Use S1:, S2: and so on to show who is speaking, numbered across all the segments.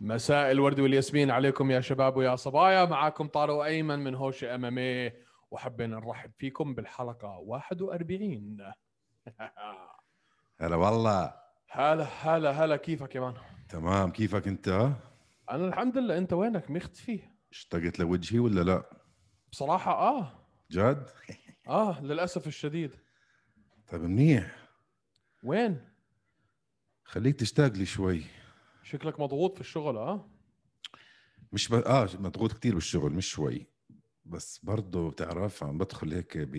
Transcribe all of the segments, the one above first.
S1: مساء الورد والياسمين عليكم يا شباب ويا صبايا معاكم طارق ايمن من هوش ام ام اي وحبينا نرحب فيكم بالحلقه 41
S2: هلا والله
S1: هلا هلا هلا كيفك يا مان
S2: تمام كيفك انت
S1: انا الحمد لله انت وينك مختفي
S2: اشتقت لوجهي ولا لا
S1: بصراحه اه
S2: جد
S1: اه للاسف الشديد
S2: طيب منيح
S1: وين
S2: خليك تشتاق لي شوي
S1: شكلك مضغوط في الشغل اه
S2: مش ب... اه مضغوط كتير بالشغل مش شوي بس برضه بتعرف عم بدخل هيك ب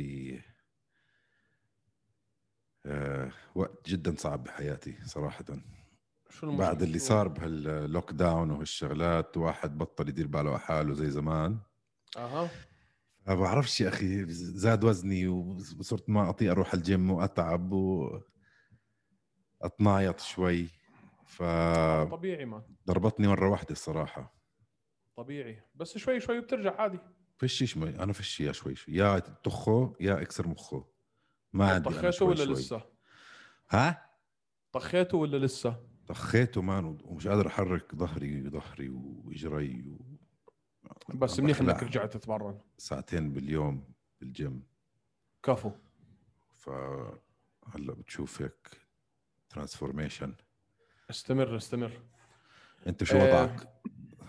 S2: آه وقت جدا صعب بحياتي صراحة
S1: شو المشكلة؟
S2: بعد اللي صار بهاللوك داون وهالشغلات واحد بطل يدير باله على حاله زي زمان
S1: اها
S2: ما بعرفش يا اخي زاد وزني وصرت ما اطيق اروح الجيم واتعب واتنايط شوي فضربتني
S1: طبيعي مان
S2: مره واحده الصراحه
S1: طبيعي بس شوي شوي بترجع عادي
S2: فشي شوي انا فشي يا شوي شوي يا تخه يا اكسر مخه ما عندي أنا
S1: طخيته
S2: شوي
S1: ولا
S2: شوي.
S1: لسه
S2: ها
S1: طخيته ولا لسه
S2: طخيته مان ومش قادر احرك ظهري ظهري واجري و...
S1: بس منيح انك
S2: بخلع
S1: رجعت تتمرن
S2: ساعتين باليوم بالجيم
S1: كفو
S2: ف هلا بتشوف هيك ترانسفورميشن
S1: استمر استمر
S2: انت شو
S1: آه،
S2: وضعك؟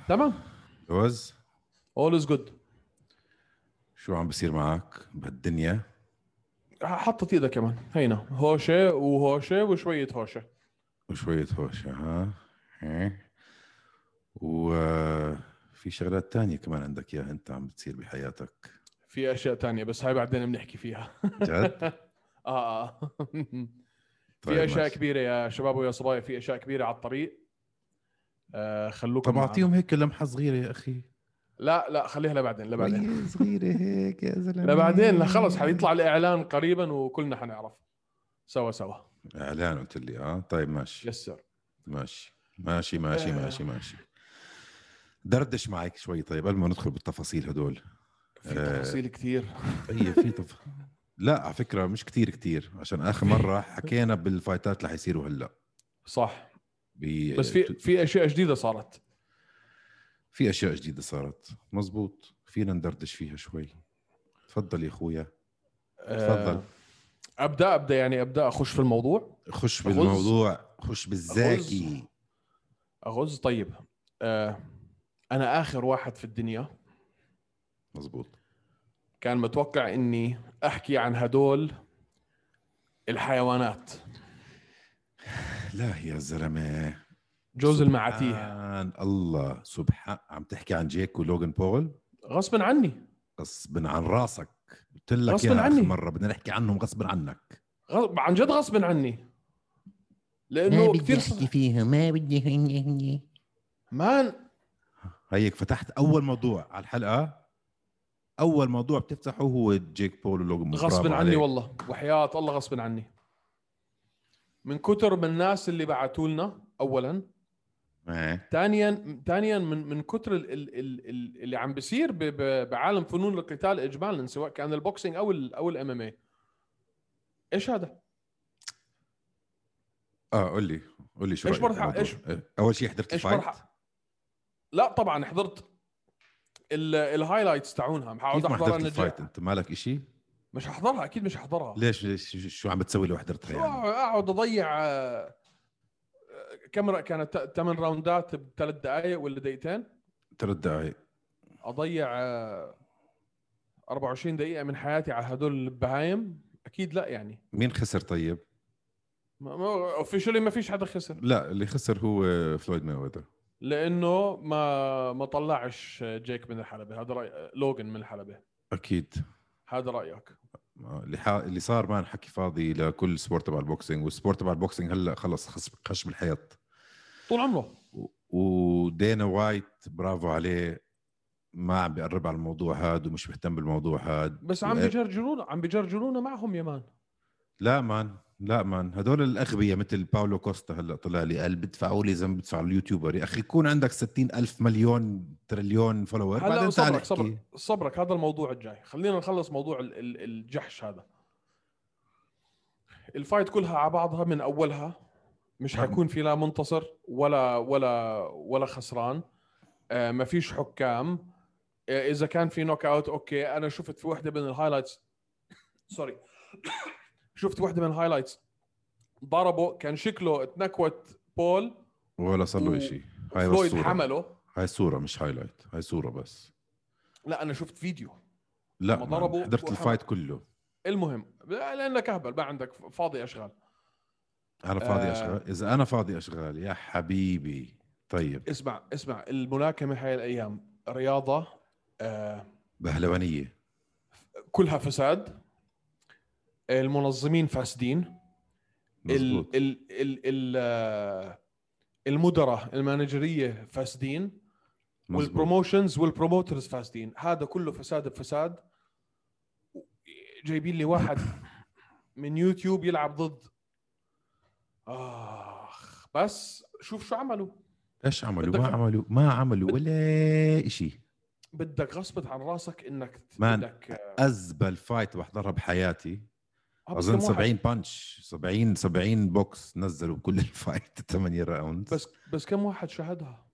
S1: تمام
S2: جوز
S1: اول از جود
S2: شو عم بصير معك بهالدنيا؟
S1: حطت ايدك كمان هينا هوشه وهوشه وشويه هوشه
S2: وشوية هوشة ها إيه. وفي شغلات تانية كمان عندك اياها انت عم بتصير بحياتك
S1: في اشياء تانية بس هاي بعدين بنحكي فيها
S2: جد؟
S1: اه اه
S2: طيب
S1: في اشياء
S2: ماشي.
S1: كبيره يا شباب ويا صبايا في اشياء كبيره على الطريق آه خلوكم
S2: طب
S1: معنا.
S2: اعطيهم هيك لمحة صغيرة يا اخي
S1: لا لا خليها لبعدين لبعدين
S2: شوية صغيرة هيك يا زلمة
S1: لبعدين لا خلص حيطلع الاعلان قريبا وكلنا حنعرف سوا سوا
S2: اعلان قلت لي اه طيب ماشي
S1: يس سر
S2: ماشي ماشي ماشي
S1: آه.
S2: ماشي ماشي دردش معك شوي طيب قبل ما ندخل بالتفاصيل هدول
S1: في
S2: آه.
S1: تفاصيل كثير
S2: اي في طف... لا على فكرة مش كتير كتير عشان اخر مرة حكينا بالفايتات اللي حيصيروا هلا
S1: صح
S2: ب-
S1: بس في في اشياء جديده صارت
S2: في اشياء جديده صارت مزبوط فينا ندردش فيها شوي تفضل يا اخويا تفضل.
S1: آه، ابدا ابدا يعني ابدا اخش في الموضوع
S2: خش
S1: أغز.
S2: بالموضوع خش بالزاكي
S1: اغز طيب آه، انا اخر واحد في الدنيا
S2: مزبوط
S1: كان متوقع اني احكي عن هدول الحيوانات
S2: لا يا زلمه
S1: جوز المعاتيه
S2: سبحان الله سبحان عم تحكي عن جيك ولوغان بول
S1: غصبا عني
S2: غصب عن راسك قلت لك
S1: غصباً
S2: يا
S1: عني.
S2: اخر مره بدنا نحكي عنهم غصب عنك
S1: غ... عن جد غصبا عني لانه كثير
S2: فيها ما بدي
S1: مان
S2: هيك فتحت اول موضوع على الحلقه اول موضوع بتفتحه هو جيك بول ولوغان بول
S1: غصبا
S2: برافو
S1: عني
S2: عليك.
S1: والله وحياه الله غصبا عني من كتر من الناس اللي بعثوا لنا اولا
S2: إيه.
S1: ثانيا ثانيا من من كتر ال ال ال ال- اللي عم بيصير ب- ب- بعالم فنون القتال اجمالا سواء كان البوكسينج او ال او الام ام اي ايش هذا؟
S2: اه قول لي قول لي شو
S1: إيش
S2: رأيك
S1: مرح-
S2: بالموضوع؟
S1: إيش-
S2: إيه. اول شيء حضرت
S1: ايش
S2: الفايت
S1: مرح- لا طبعا حضرت ال- الهايلايتس تاعونها حقعد
S2: كيف ما
S1: احضرها
S2: حضرت
S1: أنا
S2: الفايت
S1: الجاي.
S2: انت مالك إشي
S1: مش ححضرها اكيد مش ححضرها
S2: ليش ليش شو- شو عم بتسوي لو حضرتها
S1: شو
S2: يعني
S1: اقعد اضيع آه، آه، كاميرا كانت 8 راوندات بثلاث دقائق ولا دقيقتين
S2: ثلاث دقائق
S1: اضيع آه، 24 دقيقه من حياتي على هدول البهايم اكيد لا يعني
S2: مين خسر طيب
S1: اوفيشلي ما فيش حدا خسر
S2: لا اللي خسر هو فلويد ماويذر
S1: لانه ما ما طلعش جيك من الحلبه هذا راي لوجن من الحلبه
S2: اكيد
S1: هذا رايك
S2: آه، اللي ح... اللي صار مان حكي فاضي لكل سبورت تبع البوكسينج والسبورت تبع البوكسينج هلا خلص خش, خش بالحيط
S1: طول عمره
S2: و- ودينا وايت برافو عليه ما عم بيقرب على الموضوع هاد ومش مهتم بالموضوع هاد
S1: بس عم
S2: وإيه-
S1: بيجرجرونا عم بيجرجرونا معهم يا مان
S2: لا مان لا مان هدول الاغبياء مثل باولو كوستا هلا طلع لي قال بدفعوا لي زلمه بدفع اليوتيوبر يا اخي يكون عندك 60 الف مليون تريليون فولور
S1: هلا
S2: بعدين تعال
S1: صبرك
S2: احكي
S1: صبرك صبرك هذا الموضوع الجاي خلينا نخلص موضوع ال- ال- الجحش هذا الفايت كلها على بعضها من اولها مش
S2: نعم.
S1: حيكون في لا منتصر ولا ولا ولا خسران آه، ما فيش حكام آه، اذا كان في نوك اوت اوكي انا شفت في وحده من الهايلايتس سوري شفت وحده من الهايلايتس ضربه كان شكله تنكوت بول
S2: ولا صار
S1: و-
S2: له شيء هاي
S1: فلويد
S2: الصوره
S1: حمله
S2: هاي صوره مش هايلايت هاي صوره بس
S1: لا انا شفت فيديو
S2: لا
S1: لما
S2: مان،
S1: ضربوا
S2: حضرت
S1: وحمل.
S2: الفايت كله
S1: المهم لانك اهبل ما عندك فاضي اشغال
S2: انا فاضي
S1: آه.
S2: اشغال اذا انا فاضي اشغال يا حبيبي طيب
S1: اسمع اسمع الملاكمه هاي الايام رياضه آه
S2: بهلوانيه
S1: كلها فساد المنظمين فاسدين
S2: مزبوط
S1: ال ال ال ال آه، المدراء المانجريه فاسدين
S2: مزبوط
S1: والبروموشنز والبروموترز فاسدين هذا كله فساد بفساد جايبين لي واحد من يوتيوب يلعب ضد اخ بس شوف شو عملوا
S2: ايش عملوا
S1: بدك-
S2: ما عملوا ما عملوا ولا شيء
S1: بدك غصبت عن راسك انك
S2: مان،
S1: بدك
S2: ازبل فايت بحضرها بحياتي
S1: آه،
S2: اظن
S1: بس كم واحد-
S2: 70 بانش 70 70 بوكس نزلوا بكل الفايت 8 راوند
S1: بس بس كم واحد شاهدها؟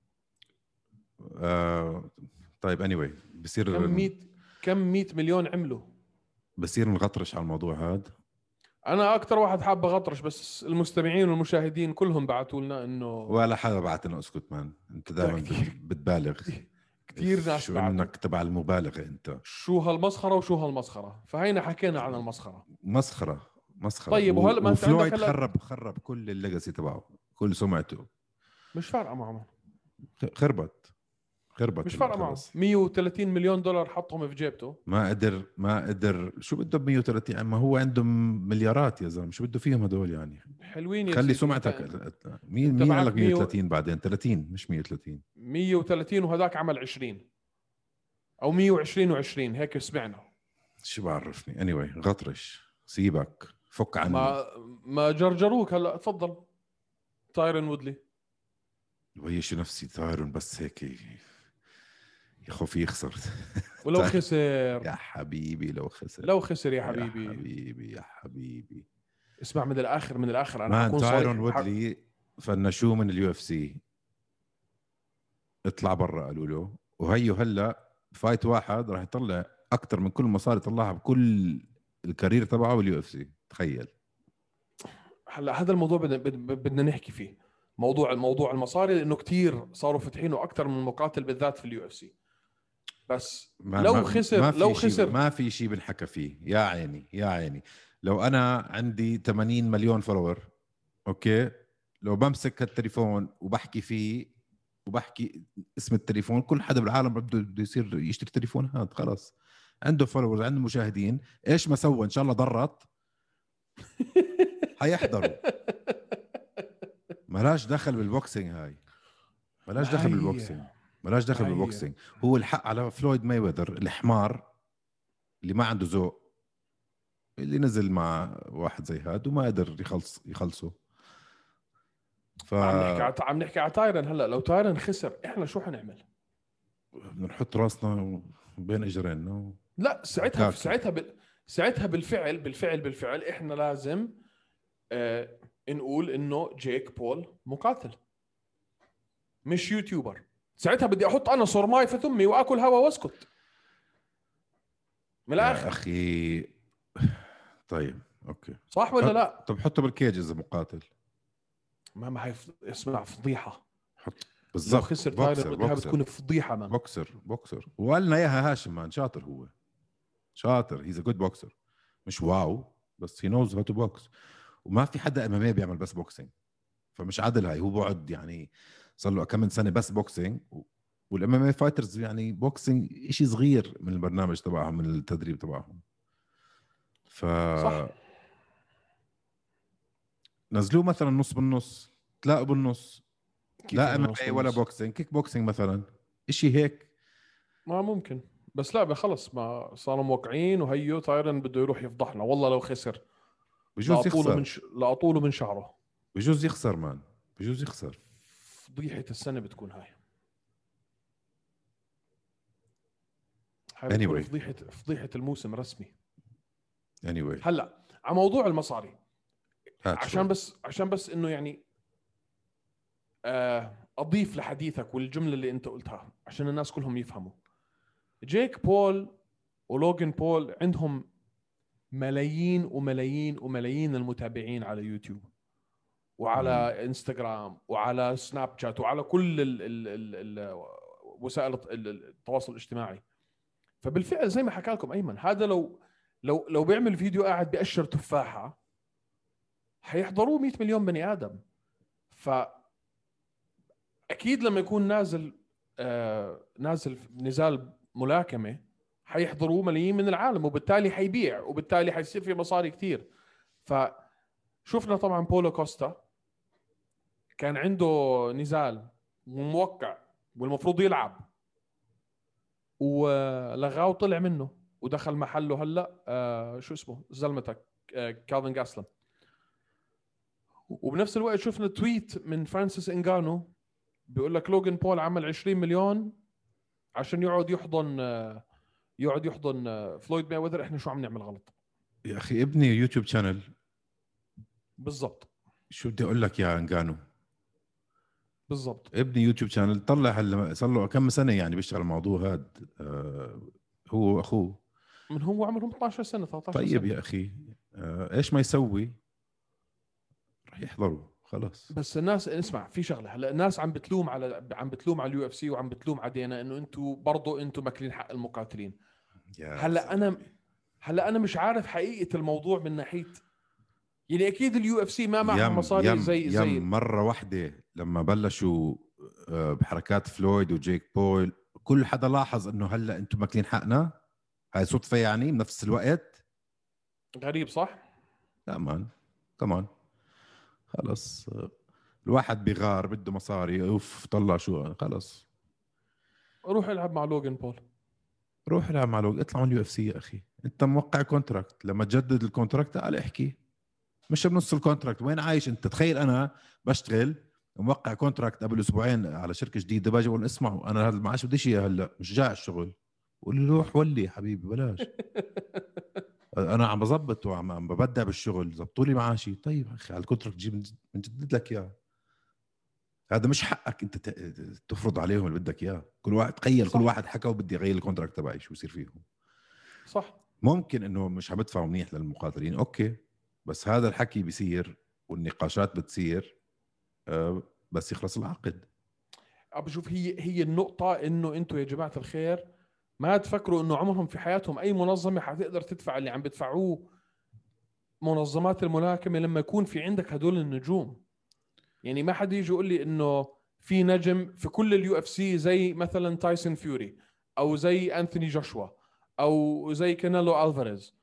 S2: آه طيب اني anyway, بصير
S1: كم 100 كم 100 مليون عملوا؟
S2: بصير نغطرش على الموضوع هذا
S1: انا اكثر واحد حاب اغطرش بس المستمعين والمشاهدين كلهم بعثوا لنا انه
S2: ولا حدا بعت لنا اسكت مان انت دائما
S1: كتير.
S2: بتبالغ
S1: كثير ناس
S2: شو
S1: بعتوا
S2: انك تبع المبالغه انت
S1: شو هالمسخره وشو هالمسخره فهينا حكينا عن المسخره
S2: مسخره مسخره
S1: طيب، وهلا ما انت عندك
S2: وفلويد
S1: هلا-
S2: خرب خرب كل الليجاسي تبعه كل سمعته
S1: مش فارقه معهم
S2: خربت خربت
S1: مش فارقه معهم
S2: خلص.
S1: 130 مليون دولار حطهم في جيبته
S2: ما قدر ما قدر شو بده ب 130 يعني ما هو عندهم مليارات يا زلمه شو بده فيهم هدول يعني
S1: حلوين يا
S2: خلي
S1: سيدي.
S2: سمعتك مين
S1: أنت
S2: مين
S1: معك
S2: قال لك
S1: مية و-
S2: 130 بعدين 30 مش 130
S1: 130 وهذاك عمل 20 او 120 و20 هيك سمعنا
S2: شو بعرفني اني anyway, غطرش سيبك فك عني ما...
S1: ما ما جرجروك هلا تفضل تايرن وودلي
S2: ويش نفسي تايرون بس هيك يا خوفي يخسر
S1: ولو
S2: طيب.
S1: خسر
S2: يا حبيبي لو خسر
S1: لو خسر يا
S2: يا
S1: حبيبي
S2: حبيبي يا حبيبي
S1: اسمع من الاخر من الاخر انا
S2: مان
S1: حكون صريح
S2: تايرون وودلي فنشوه من اليو اف سي اطلع برا قالوا له وهيو هلا فايت واحد راح يطلع اكثر من كل المصاري طلعها بكل الكارير تبعه باليو اف سي تخيل
S1: هلا هذا الموضوع بدنا بد- بد- بدنا نحكي فيه موضوع موضوع المصاري لانه كتير صاروا فاتحينه اكثر من مقاتل بالذات في اليو اف سي بس
S2: ما
S1: لو
S2: ما
S1: خسر-
S2: ما في
S1: لو
S2: شي-
S1: خسر.
S2: ما في شيء بنحكى فيه يا عيني يا عيني لو انا عندي 80 مليون فولور اوكي لو بمسك هالتليفون وبحكي فيه وبحكي اسم التليفون كل حدا بالعالم بده بده يصير يشتري تليفون هذا خلاص عنده فولورز عنده مشاهدين ايش ما سوى ان شاء الله ضرت حيحضروا ملاش دخل بالبوكسينج هاي ملاش دخل
S1: هي.
S2: بالبوكسينج ملاش دخل
S1: هي.
S2: بالبوكسينج هو الحق على فلويد مايوذر الحمار اللي ما عنده ذوق اللي نزل مع واحد زي هاد وما قدر يخلص يخلصه ف
S1: عم نحكي على عم نحكي على تايرن هلا لو تايرن خسر احنا شو حنعمل؟
S2: بدنا نحط راسنا بين اجرين
S1: لا ساعتها
S2: أوكي.
S1: ساعتها بال... ساعتها بالفعل بالفعل بالفعل احنا لازم آه نقول انه جيك بول مقاتل مش يوتيوبر ساعتها بدي احط انا صرماي في ثمي واكل هوا واسكت من
S2: يا
S1: الاخر
S2: اخي طيب اوكي
S1: صح ولا
S2: طب-
S1: لا؟
S2: طب حطه بالكيج اذا مقاتل
S1: ما ما هي ف- اسمع فضيحه لو
S2: بالضبط
S1: خسر
S2: بوكسر
S1: تايلر وودها
S2: بوكسر,
S1: بتكون فضيحه مان
S2: بوكسر بوكسر وقالنا اياها هاشم مان شاطر هو شاطر هيز ا جود بوكسر مش واو بس هي نوز هاو تو بوكس وما في حدا ام ام بيعمل بس بوكسينج فمش عادل هاي هو بقعد يعني صار له كم من سنه بس بوكسينج والام ام فايترز يعني بوكسينج شيء صغير من البرنامج تبعهم من التدريب تبعهم ف
S1: صح.
S2: نزلوه مثلا نص بالنص تلاقوا بالنص
S1: كيف
S2: لا
S1: إنه
S2: ام
S1: نص
S2: ولا
S1: بالنص؟
S2: بوكسينج كيك بوكسينج مثلا شيء هيك
S1: ما ممكن بس لا خلص ما صاروا موقعين وهيو تايرن بده يروح يفضحنا والله لو خسر
S2: بجوز
S1: لاطوله
S2: يخسر
S1: من ش... لاطوله من شعره
S2: بجوز يخسر مان بجوز يخسر
S1: فضيحه السنه بتكون هاي هاي
S2: Anyway.
S1: anyway. فضيحه فضيحه الموسم رسمي
S2: anyway
S1: هلا على موضوع المصاري
S2: هات شوي.
S1: عشان بس عشان بس انه يعني آه، اضيف لحديثك والجمله اللي انت قلتها عشان الناس كلهم يفهموا جيك بول ولوجن بول عندهم ملايين وملايين وملايين المتابعين على يوتيوب وعلى انستغرام وعلى سناب شات وعلى كل ال ال ال ال وسائل الت- ال- ال- التواصل الاجتماعي فبالفعل زي ما حكى لكم ايمن هذا لو لو لو بيعمل فيديو قاعد بيأشر تفاحه حيحضروه 100 مليون بني ادم ف اكيد لما يكون نازل آه نازل في نزال ملاكمه حيحضروه ملايين من العالم وبالتالي حيبيع وبالتالي حيصير في مصاري كثير فشفنا طبعا بولو كوستا كان عنده نزال موقع والمفروض يلعب ولغاه وطلع منه ودخل محله هلا آه شو اسمه زلمتك آه كالفن جاسلم وبنفس الوقت شفنا تويت من فرانسيس انجانو بيقول لك لوجن بول عمل 20 مليون عشان يقعد يحضن آه، يقعد يحضن آه، فلويد ماوذر احنا شو عم نعمل غلط
S2: يا اخي ابني يوتيوب شانل
S1: بالضبط
S2: شو بدي اقول لك يا انجانو
S1: بالضبط
S2: ابني يوتيوب شانل طلع هلا صار له كم سنه يعني بيشتغل الموضوع هذا آه هو واخوه
S1: من هو عمرهم 12 سنه 13
S2: طيب
S1: سنه
S2: يا اخي آه ايش ما يسوي رح يحضروا خلاص
S1: بس الناس اسمع في شغله هلا الناس عم بتلوم على عم بتلوم على إيه اليو اف سي وعم بتلوم علينا انه انتم برضه انتم ماكلين حق المقاتلين
S2: يا
S1: هلا انا هلا انا مش عارف حقيقه الموضوع من ناحيه يعني اكيد اليو اف سي ما معهم مصاري زي زي
S2: يم مره واحده لما بلشوا آه، بحركات فلويد وجيك بول كل حدا لاحظ انه هلا انتم ماكلين حقنا هاي صدفه يعني بنفس الوقت
S1: غريب صح؟
S2: لا مان كمان خلص آه، الواحد بغار بده مصاري اوف طلع شو خلص
S1: روح العب مع لوجن بول
S2: روح العب مع لوج اطلع من اليو اف سي يا اخي انت موقع كونتراكت لما تجدد الكونتراكت تعال احكي مش بنص الكونتراكت وين عايش انت تخيل انا بشتغل موقع كونتراكت قبل اسبوعين على شركه جديده باجي بقول اسمعوا انا هذا المعاش بديش اياه هلا مش جاي على الشغل بقول لي روح ولي يا حبيبي بلاش انا عم بظبط وعم عم ببدع بالشغل زبطوا لي معاشي طيب يا اخي على الكونتراكت جيب بنجدد لك اياه هذا مش حقك انت ت- تفرض عليهم اللي بدك اياه كل واحد تخيل كل
S1: صح.
S2: واحد حكى وبدي اغير الكونتراكت تبعي شو يصير فيهم
S1: صح
S2: ممكن انه مش عم بدفعوا منيح للمقاتلين اوكي بس هذا الحكي بيصير والنقاشات بتصير آه، بس يخلص العقد
S1: عم بشوف هي هي النقطة انه انتم يا جماعة الخير ما تفكروا انه عمرهم في حياتهم اي منظمة حتقدر تدفع اللي عم بدفعوه منظمات الملاكمة لما يكون في عندك هدول النجوم يعني ما حد يجي يقول لي انه في نجم في كل اليو اف سي زي مثلا تايسون فيوري او زي انثوني جوشوا او زي كانيلو الفاريز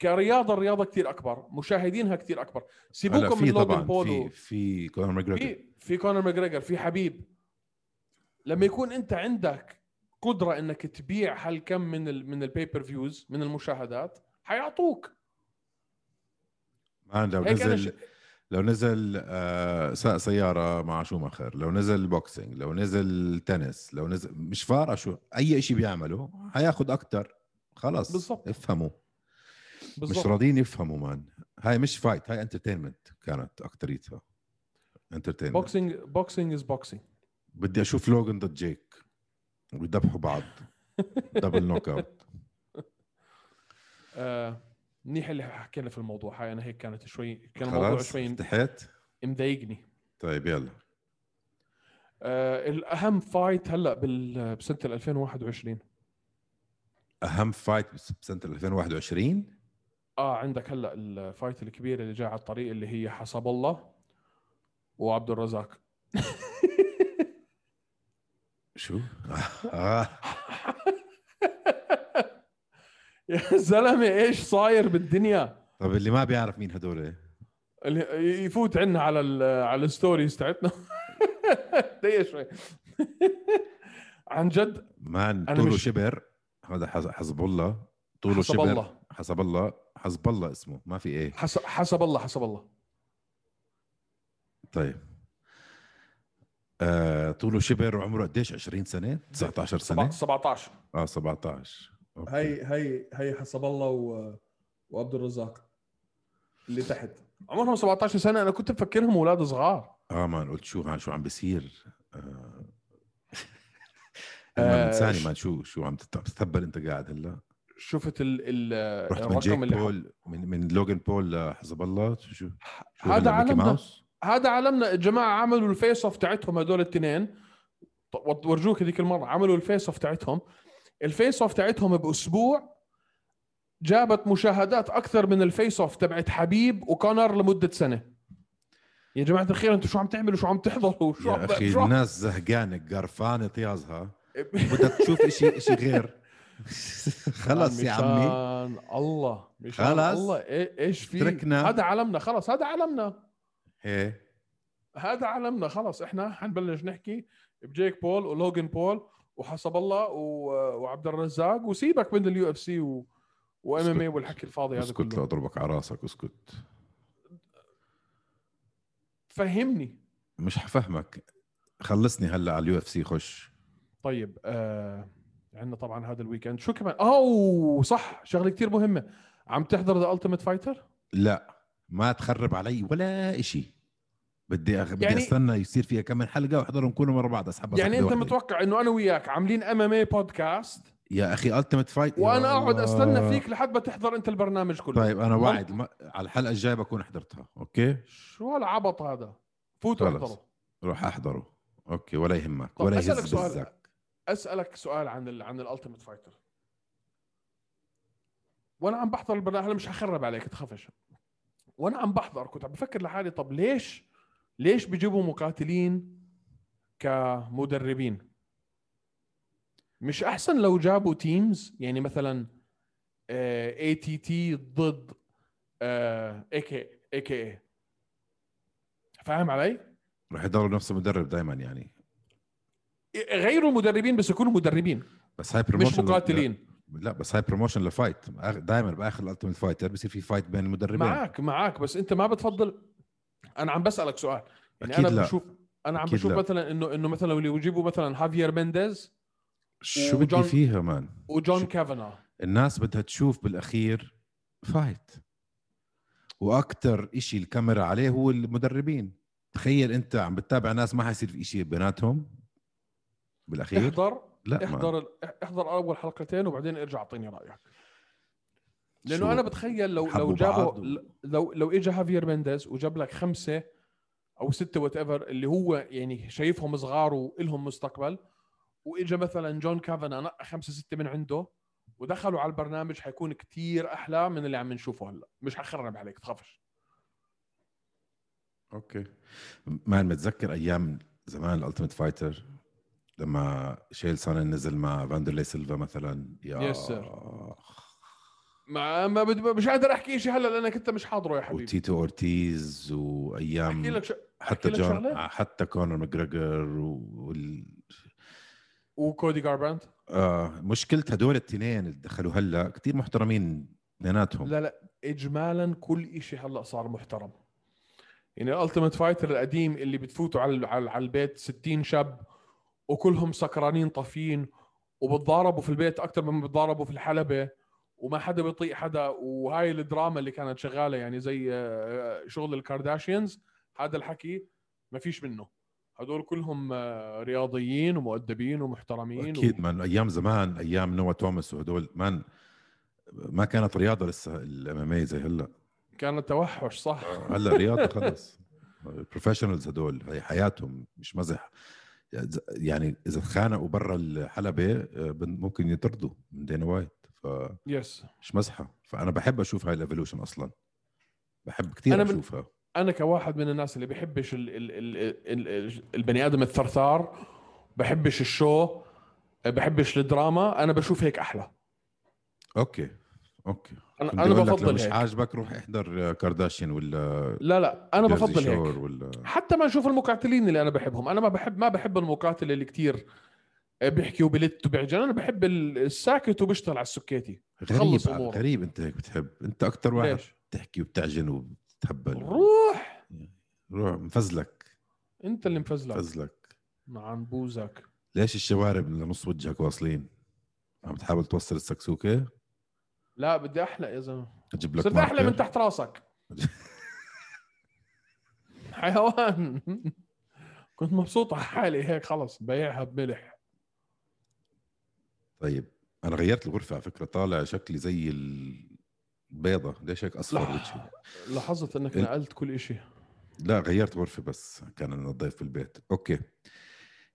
S1: كرياضة الرياضة كتير اكبر مشاهدينها كتير اكبر
S2: هلا
S1: سيبوكم من
S2: في
S1: لوجن
S2: طبعا
S1: بولو
S2: في في كونر ماجريجر
S1: في في كونر ماجريجر في حبيب لما يكون انت عندك قدره انك تبيع هالكم من ال من البيبر فيوز من المشاهدات حيعطوك
S2: مان لو
S1: هيك أنا ش-
S2: نزل لو نزل آه، سائق سياره مع شوماخر لو نزل بوكسينج لو نزل تنس لو نزل مش فارقه شو اي شيء بيعمله حياخد اكثر خلص
S1: بالضبط.
S2: افهموا مش
S1: بالضبط
S2: راضيين يفهموا مان هاي مش فايت هاي انترتينمنت كانت اكتريتها انترتينمنت
S1: بوكسينج بوكسينج از بوكسينج
S2: بدي اشوف لوجن ضد جيك ويذبحوا بعض دبل نوك اوت
S1: آه منيح اللي حكينا في الموضوع هاي انا هيك كانت شوي كان الموضوع
S2: خلاص
S1: شوي
S2: فتحت
S1: مضايقني
S2: طيب يلا
S1: آه الاهم فايت هلا بال- بسنه ال 2021
S2: اهم فايت بس- بسنه 2021
S1: اه عندك هلا الفايت الكبيره اللي جايه على الطريق اللي هي حسب الله وعبد الرزاق
S2: شو؟ آه.
S1: يا زلمه ايش صاير بالدنيا
S2: طب اللي ما بيعرف مين هدول
S1: اللي يفوت عنا على ال على الستوريز تاعتنا دقيقه شوي عن جد
S2: مان
S1: أنا
S2: طوله
S1: مش-
S2: شبر هذا حز- حزب الله طوله
S1: حسب
S2: شبر
S1: الله.
S2: حسب الله حزب الله اسمه ما في ايه
S1: حسب حسب الله حسب الله
S2: طيب آه طوله شبر وعمره قديش 20 سنه 19
S1: سبعة-
S2: سنه
S1: 17
S2: اه 17 أوكي.
S1: هي هي هي حسب الله و... وعبد الرزاق اللي تحت عمرهم 17 سنه انا كنت مفكرهم اولاد صغار
S2: اه مان قلت شو عم- شو عم بيصير آه.
S1: آه،
S2: آه ثاني
S1: ش-
S2: مان شو شو عم تت- تتبل انت قاعد هلا
S1: شفت ال ال
S2: رحت من جيك
S1: الرقم آه، اللي ح-
S2: بول من من لوجن بول لحزب الله شو شو شو
S1: هذا
S2: هلا ميكي
S1: عالمنا.
S2: ماوس
S1: هذا علمنا الجماعه عملوا الفيس اوف تاعتهم هذول الاثنين ط- وط- ورجوك هذيك المره عملوا الفيس اوف تاعتهم الفيس اوف تاعتهم باسبوع جابت مشاهدات اكثر من الفيس اوف تبعت حبيب وكونر لمده سنه يا جماعه الخير انتوا شو عم تعملوا شو عم تحضروا شو
S2: يا
S1: عم
S2: اخي
S1: شو عم-
S2: الناس زهقانه قرفانه طيازها بدها تشوف شيء شيء غير خلص يا عمي
S1: مشان الله مشان
S2: خلص.
S1: الله إي- ايش في
S2: تركنا.
S1: هذا عالمنا خلص هذا عالمنا
S2: ايه
S1: هذا عالمنا خلص احنا حنبلش نحكي بجيك بول ولوجن بول وحسب الله و... وعبد الرزاق وسيبك من اليو اف سي وام ام اي
S2: اسكت.
S1: والحكي الفاضي هذا
S2: اسكت
S1: كله
S2: لاضربك على راسك اسكت
S1: فهمني
S2: مش حفهمك خلصني هلا على اليو اف سي خش
S1: طيب آه... عندنا طبعا هذا الويكند شو كمان اوه صح شغله كتير مهمه عم تحضر ذا التيمت فايتر
S2: لا ما تخرب علي ولا إشي بدي أغ... بدي
S1: يعني-
S2: استنى يصير فيها كم حلقه واحضرهم كلهم ورا بعض اسحبها
S1: يعني
S2: سحبة
S1: انت
S2: واحدة.
S1: متوقع انه انا وياك عاملين ام ام اي بودكاست
S2: يا اخي التيمت فايت
S1: وانا اقعد استنى فيك لحد ما تحضر انت البرنامج كله
S2: طيب انا وعد ما... على الحلقه الجايه بكون حضرتها اوكي
S1: شو هالعبط هذا فوتوا
S2: خلص.
S1: احضروا
S2: روح احضره اوكي ولا يهمك
S1: طب
S2: ولا
S1: طيب، أسألك
S2: يهز
S1: سؤال.
S2: بزك
S1: اسالك سؤال عن ال عن الالتيميت فايتر وانا عم بحضر البرنامج هلا مش حخرب عليك تخافش وانا عم بحضر كنت عم بفكر لحالي طب ليش ليش بيجيبوا مقاتلين كمدربين مش احسن لو جابوا تيمز يعني آه، مثلا اي تي تي ضد آه، اي كي اي كي فاهم علي؟
S2: رح يضلوا نفس المدرب دائما يعني
S1: غيروا مدربين بس يكونوا مدربين
S2: بس هاي
S1: مش
S2: بروموشن
S1: مقاتلين
S2: لا بس هاي بروموشن لفايت دائما باخر الالتيمت فايتر يعني بصير في فايت بين المدربين
S1: معك معك بس انت ما بتفضل انا عم بسالك سؤال يعني
S2: أكيد
S1: انا
S2: لا.
S1: بشوف انا عم
S2: أكيد
S1: بشوف
S2: لا.
S1: مثلا انه انه مثلا لو يجيبوا مثلا هافير مينديز
S2: شو بدي
S1: وجون-
S2: فيها مان
S1: وجون
S2: شو-
S1: كافانا
S2: الناس بدها تشوف بالاخير فايت واكثر إشي الكاميرا عليه هو المدربين تخيل انت عم بتتابع ناس ما حيصير في إشي بيناتهم بالاخير
S1: احضر
S2: لا مان.
S1: احضر ال- احضر اول حلقتين وبعدين ارجع اعطيني رايك
S2: شو؟
S1: لانه انا بتخيل لو لو
S2: حبوا
S1: جابوا
S2: بعض و-
S1: ل- لو لو اجى هافير مينديز وجاب لك خمسه او سته وات ايفر اللي هو يعني شايفهم صغار والهم مستقبل واجى مثلا جون كافانا نقى خمسه سته من عنده ودخلوا على البرنامج حيكون كتير احلى من اللي عم نشوفه هلا مش حخرب عليك تخافش
S2: اوكي مان متذكر ايام زمان الالتيميت فايتر لما شيل سانن نزل مع فاندرلي سيلفا مثلا يا
S1: Yes, sir. ما, ما بد... مش قادر احكي شيء هلا لانك انت مش حاضره يا حبيبي
S2: وتيتو اورتيز
S1: احكي
S2: وايام
S1: لك ش...
S2: حتى
S1: لك
S2: جون
S1: شغلة؟
S2: حتى كونر ماجريجر وال
S1: وكودي جاربرانت
S2: آه مشكلة هدول التنين اللي دخلوا هلا كتير محترمين اثنيناتهم
S1: لا لا اجمالا كل شيء هلا صار محترم يعني الالتيميت فايتر القديم اللي بتفوتوا على على على البيت 60 شاب وكلهم سكرانين طافيين وبتضاربوا في البيت اكثر من بتضاربوا في الحلبه وما حدا بيطيق حدا وهاي الدراما اللي كانت شغاله يعني زي آه، شغل الكارداشيانز هذا الحكي ما فيش منه هدول كلهم آه، رياضيين ومؤدبين ومحترمين
S2: اكيد من ايام زمان ايام نوا توماس وهدول من ما كانت رياضة لسه الامامية زي هلا
S1: كانت توحش صح
S2: هلا رياضة خلص البروفيشنالز هدول هي حياتهم مش مزح يعني اذا تخانقوا برا الحلبة آه، بن- ممكن يطردوا من دينا وايت فمش
S1: يس
S2: مزحة فانا بحب اشوف هاي الايفولوشن اصلا بحب كثير
S1: أنا من-
S2: اشوفها
S1: انا كواحد من الناس اللي بحبش ال ال ال ال ال البني ادم الثرثار بحبش الشو بحبش الدراما انا بشوف هيك احلى
S2: اوكي اوكي
S1: انا
S2: بدي
S1: انا
S2: أقول لك لو
S1: بفضل
S2: مش
S1: هيك
S2: عاجبك روح احضر كارداشيان ولا
S1: لا لا انا
S2: جيرزي
S1: بفضل
S2: شور
S1: هيك
S2: ولا
S1: حتى ما اشوف المقاتلين اللي انا بحبهم انا ما بحب ما بحب المقاتل اللي كتير بيحكي وبلت وبعجن انا بحب الساكت وبيشتغل على السكيتي
S2: غريب
S1: خلص أموره.
S2: غريب انت هيك بتحب انت اكثر واحد
S1: ليش
S2: بتحكي وبتعجن وبتهبل
S1: روح
S2: روح مفزلك
S1: انت اللي مفزلك
S2: مفزلك
S1: عن بوزك
S2: ليش الشوارب لنص وجهك واصلين عم تحاول توصل السكسوكه
S1: لا بدي احلى يا زلمه
S2: اجيب لك
S1: صرت احلى
S2: ماركر؟
S1: من تحت راسك حيوان كنت مبسوط على حالي هيك خلص بيعها بملح
S2: طيب انا غيرت الغرفه على فكره طالع شكلي زي البيضه ليش هيك اصفر
S1: لا.
S2: وجهي
S1: لاحظت انك
S2: ال-
S1: نقلت كل شيء
S2: لا غيرت غرفه بس كان لنا ضيف في البيت اوكي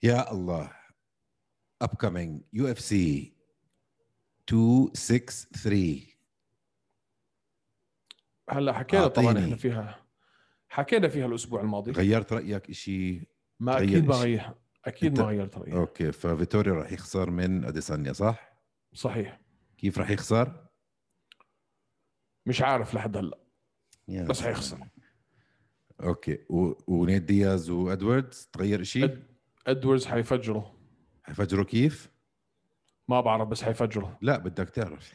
S2: يا الله upcoming UFC 263
S1: هلا حكينا طبعا
S2: أعطيني.
S1: احنا فيها حكينا فيها الاسبوع الماضي
S2: غيرت رايك شيء
S1: ما
S2: غير
S1: اكيد ما
S2: إشي.
S1: غير اكيد ما
S2: أنت-
S1: غيرت رايي
S2: اوكي ففيتوريا راح يخسر من اديسانيا صح
S1: صحيح
S2: كيف راح يخسر
S1: مش عارف لحد هلا
S2: يا
S1: بس
S2: زلمة.
S1: حيخسر.
S2: اوكي و... ونيد دياز وادواردز تغير شيء
S1: أد- ادوردز حيفجره
S2: حيفجروا كيف
S1: ما بعرف بس حيفجره
S2: لا بدك تعرف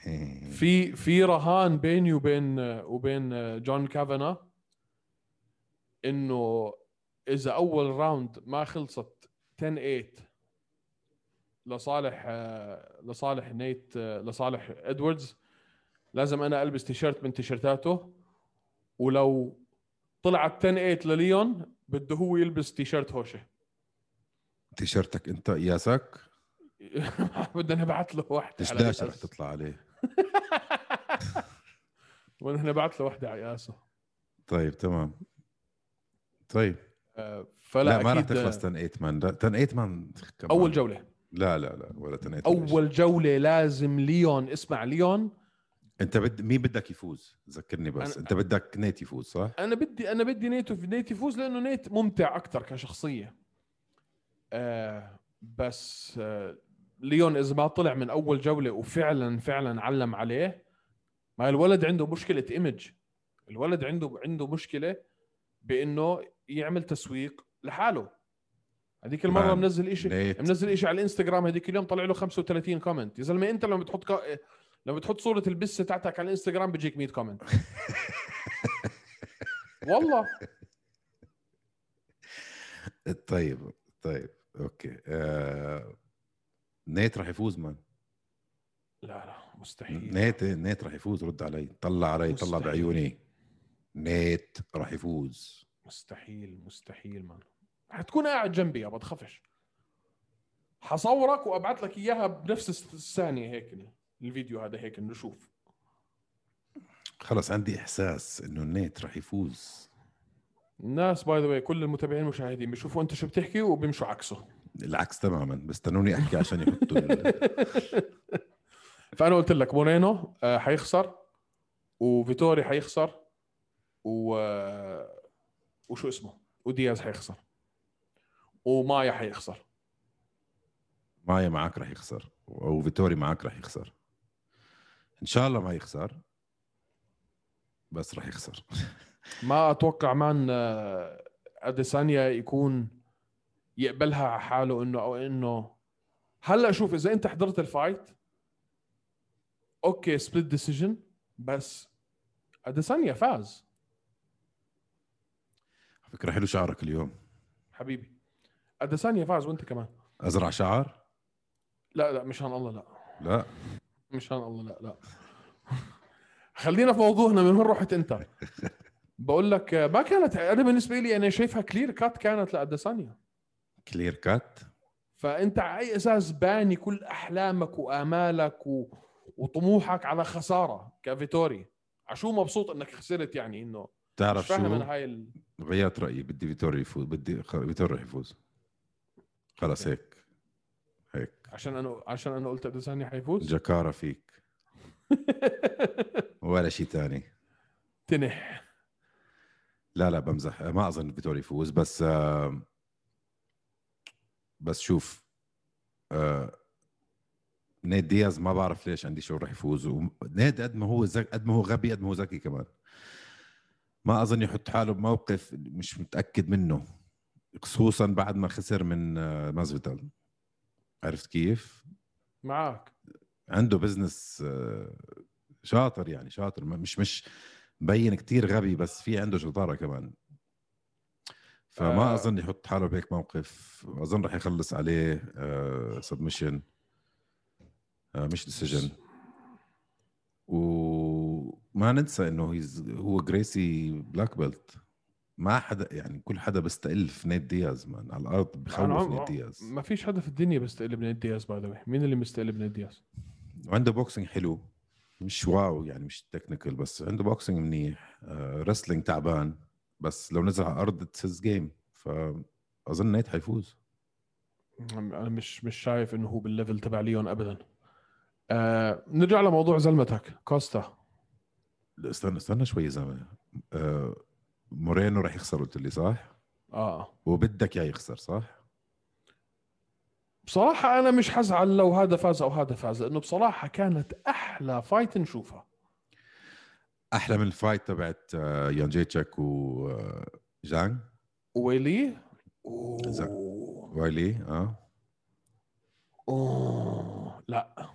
S1: في في رهان بيني وبين وبين جون كافانا انه اذا اول راوند ما خلصت 10 8 لصالح لصالح نيت لصالح ادواردز لازم انا البس تيشيرت من تيشيرتاته ولو طلعت 10 8 لليون بده هو يلبس تيشيرت هوشه
S2: تيشيرتك انت قياسك
S1: بدنا نبعث له واحده على
S2: دشداشه رح
S1: يأس.
S2: تطلع عليه
S1: بدنا نبعث له واحده على ياسه
S2: طيب تمام طيب
S1: آه،
S2: لا,
S1: فلا
S2: ما راح
S1: اكيد
S2: تخلص
S1: آه،
S2: تن ايت مان لا، تن ايت مان كمان.
S1: اول جوله
S2: لا لا لا ولا تن ايت
S1: اول جوله لازم ليون اسمع ليون
S2: انت بد مين بدك يفوز ذكرني بس
S1: أنا-
S2: انت بدك نيت يفوز صح
S1: انا بدي انا بدي نيت نيت يفوز لانه نيت ممتع اكثر كشخصيه آه بس آه ليون اذا ما طلع من اول جوله وفعلا فعلا علم عليه ما الولد عنده مشكله ايمج الولد عنده عنده مشكله بانه يعمل تسويق لحاله هذيك المره
S2: مان،
S1: منزل شيء
S2: نيت
S1: منزل شيء على الانستغرام هذيك اليوم طلع له 35 كومنت يا زلمه انت لما بتحط كا... لما بتحط صوره البسه تاعتك على الانستغرام بيجيك 100 كومنت والله
S2: طيب طيب اوكي آه... نيت راح يفوز مان
S1: لا لا مستحيل
S2: نيت نيت راح يفوز رد علي طلع علي طلع
S1: إيه. مستحيل.
S2: بعيوني نيت راح يفوز
S1: مستحيل مستحيل مان حتكون قاعد جنبي يابا تخافش حصورك وابعث لك اياها بنفس الس- الثانيه هيك الفيديو هذا هيك نشوف
S2: خلص عندي احساس انه نيت راح يفوز
S1: الناس باي ذا كل المتابعين المشاهدين بيشوفوا انت شو بتحكي وبيمشوا عكسه
S2: العكس تماما بستنوني احكي عشان يحطوا ال-
S1: فانا قلت لك مورينو آه، حيخسر وفيتوري حيخسر و آه، وشو اسمه ودياز حيخسر ومايا حيخسر
S2: مايا معك راح يخسر او فيتوري معك راح يخسر ان شاء الله ما يخسر بس راح يخسر
S1: ما اتوقع مان آه، اديسانيا يكون يقبلها على حاله انه او انه هلا شوف اذا انت حضرت الفايت اوكي سبليت ديسيجن بس اديسانيا فاز
S2: على فكره حلو شعرك اليوم
S1: حبيبي اديسانيا فاز وانت كمان
S2: ازرع شعر
S1: لا لا مشان الله لا
S2: لا
S1: مشان الله لا لا خلينا في موضوعنا من وين رحت انت بقول لك آه، ما كانت انا بالنسبه لي انا شايفها كلير كات كانت لاديسانيا
S2: كلير كات
S1: فانت على اي اساس باني كل احلامك وامالك و... وطموحك على خساره كفيتوري عشو مبسوط انك خسرت يعني انه مش
S2: تعرف
S1: فاهم
S2: شو
S1: انا هاي ال...
S2: غيرت رايي بدي فيتوري يفوز بدي خ- فيتوري راح يفوز خلص هيك هيك
S1: عشان انا عشان انا قلت اديسانيا حيفوز
S2: جكارة فيك ولا شيء تاني
S1: تنح
S2: لا لا بمزح ما اظن فيتوري يفوز بس آم، بس شوف آه، نيد دياز ما بعرف ليش عندي شعور رح يفوز ونيد قد ما هو زك... قد ما هو غبي قد ما هو ذكي كمان ما اظن يحط حاله بموقف مش متاكد منه خصوصا بعد ما خسر من آه، مازفيتال عرفت كيف؟
S1: معك
S2: عنده بزنس آه، شاطر يعني شاطر ما- مش مش مبين كتير غبي بس في عنده شطاره كمان فما
S1: آه.
S2: آه. اظن يحط حاله بهيك موقف اظن رح يخلص عليه آه سبمشن آه مش ديسيجن وما ننسى انه هيز هو جريسي بلاك بيلت ما حدا يعني كل حدا بيستقل في نيت دياز مان على الارض
S1: أنا
S2: بخوف
S1: عم-
S2: نيت دياز
S1: ما فيش حدا في الدنيا بيستقل من الدياز باي ذا مين اللي مستقل من الدياز؟
S2: وعنده بوكسينج حلو مش واو يعني مش تكنيكال بس عنده بوكسينج منيح آه رسلينج تعبان بس لو نزل على الارض اتس جيم فاظن نيت حيفوز
S1: انا مش مش شايف انه هو بالليفل تبع ليون ابدا آه نرجع لموضوع زلمتك كوستا
S2: لا، استنى استنى شوي يا زلمه آه مورينو راح يخسر قلت لي صح
S1: اه
S2: وبدك يا يخسر صح
S1: بصراحة أنا مش حزعل لو هذا فاز أو هذا فاز لأنه بصراحة كانت أحلى فايت نشوفها
S2: احلى من الفايت تبعت آه يان جيتشك آه، وجانج
S1: ويلي
S2: زين.
S1: أوه.
S2: وايلي اه
S1: أوه. لا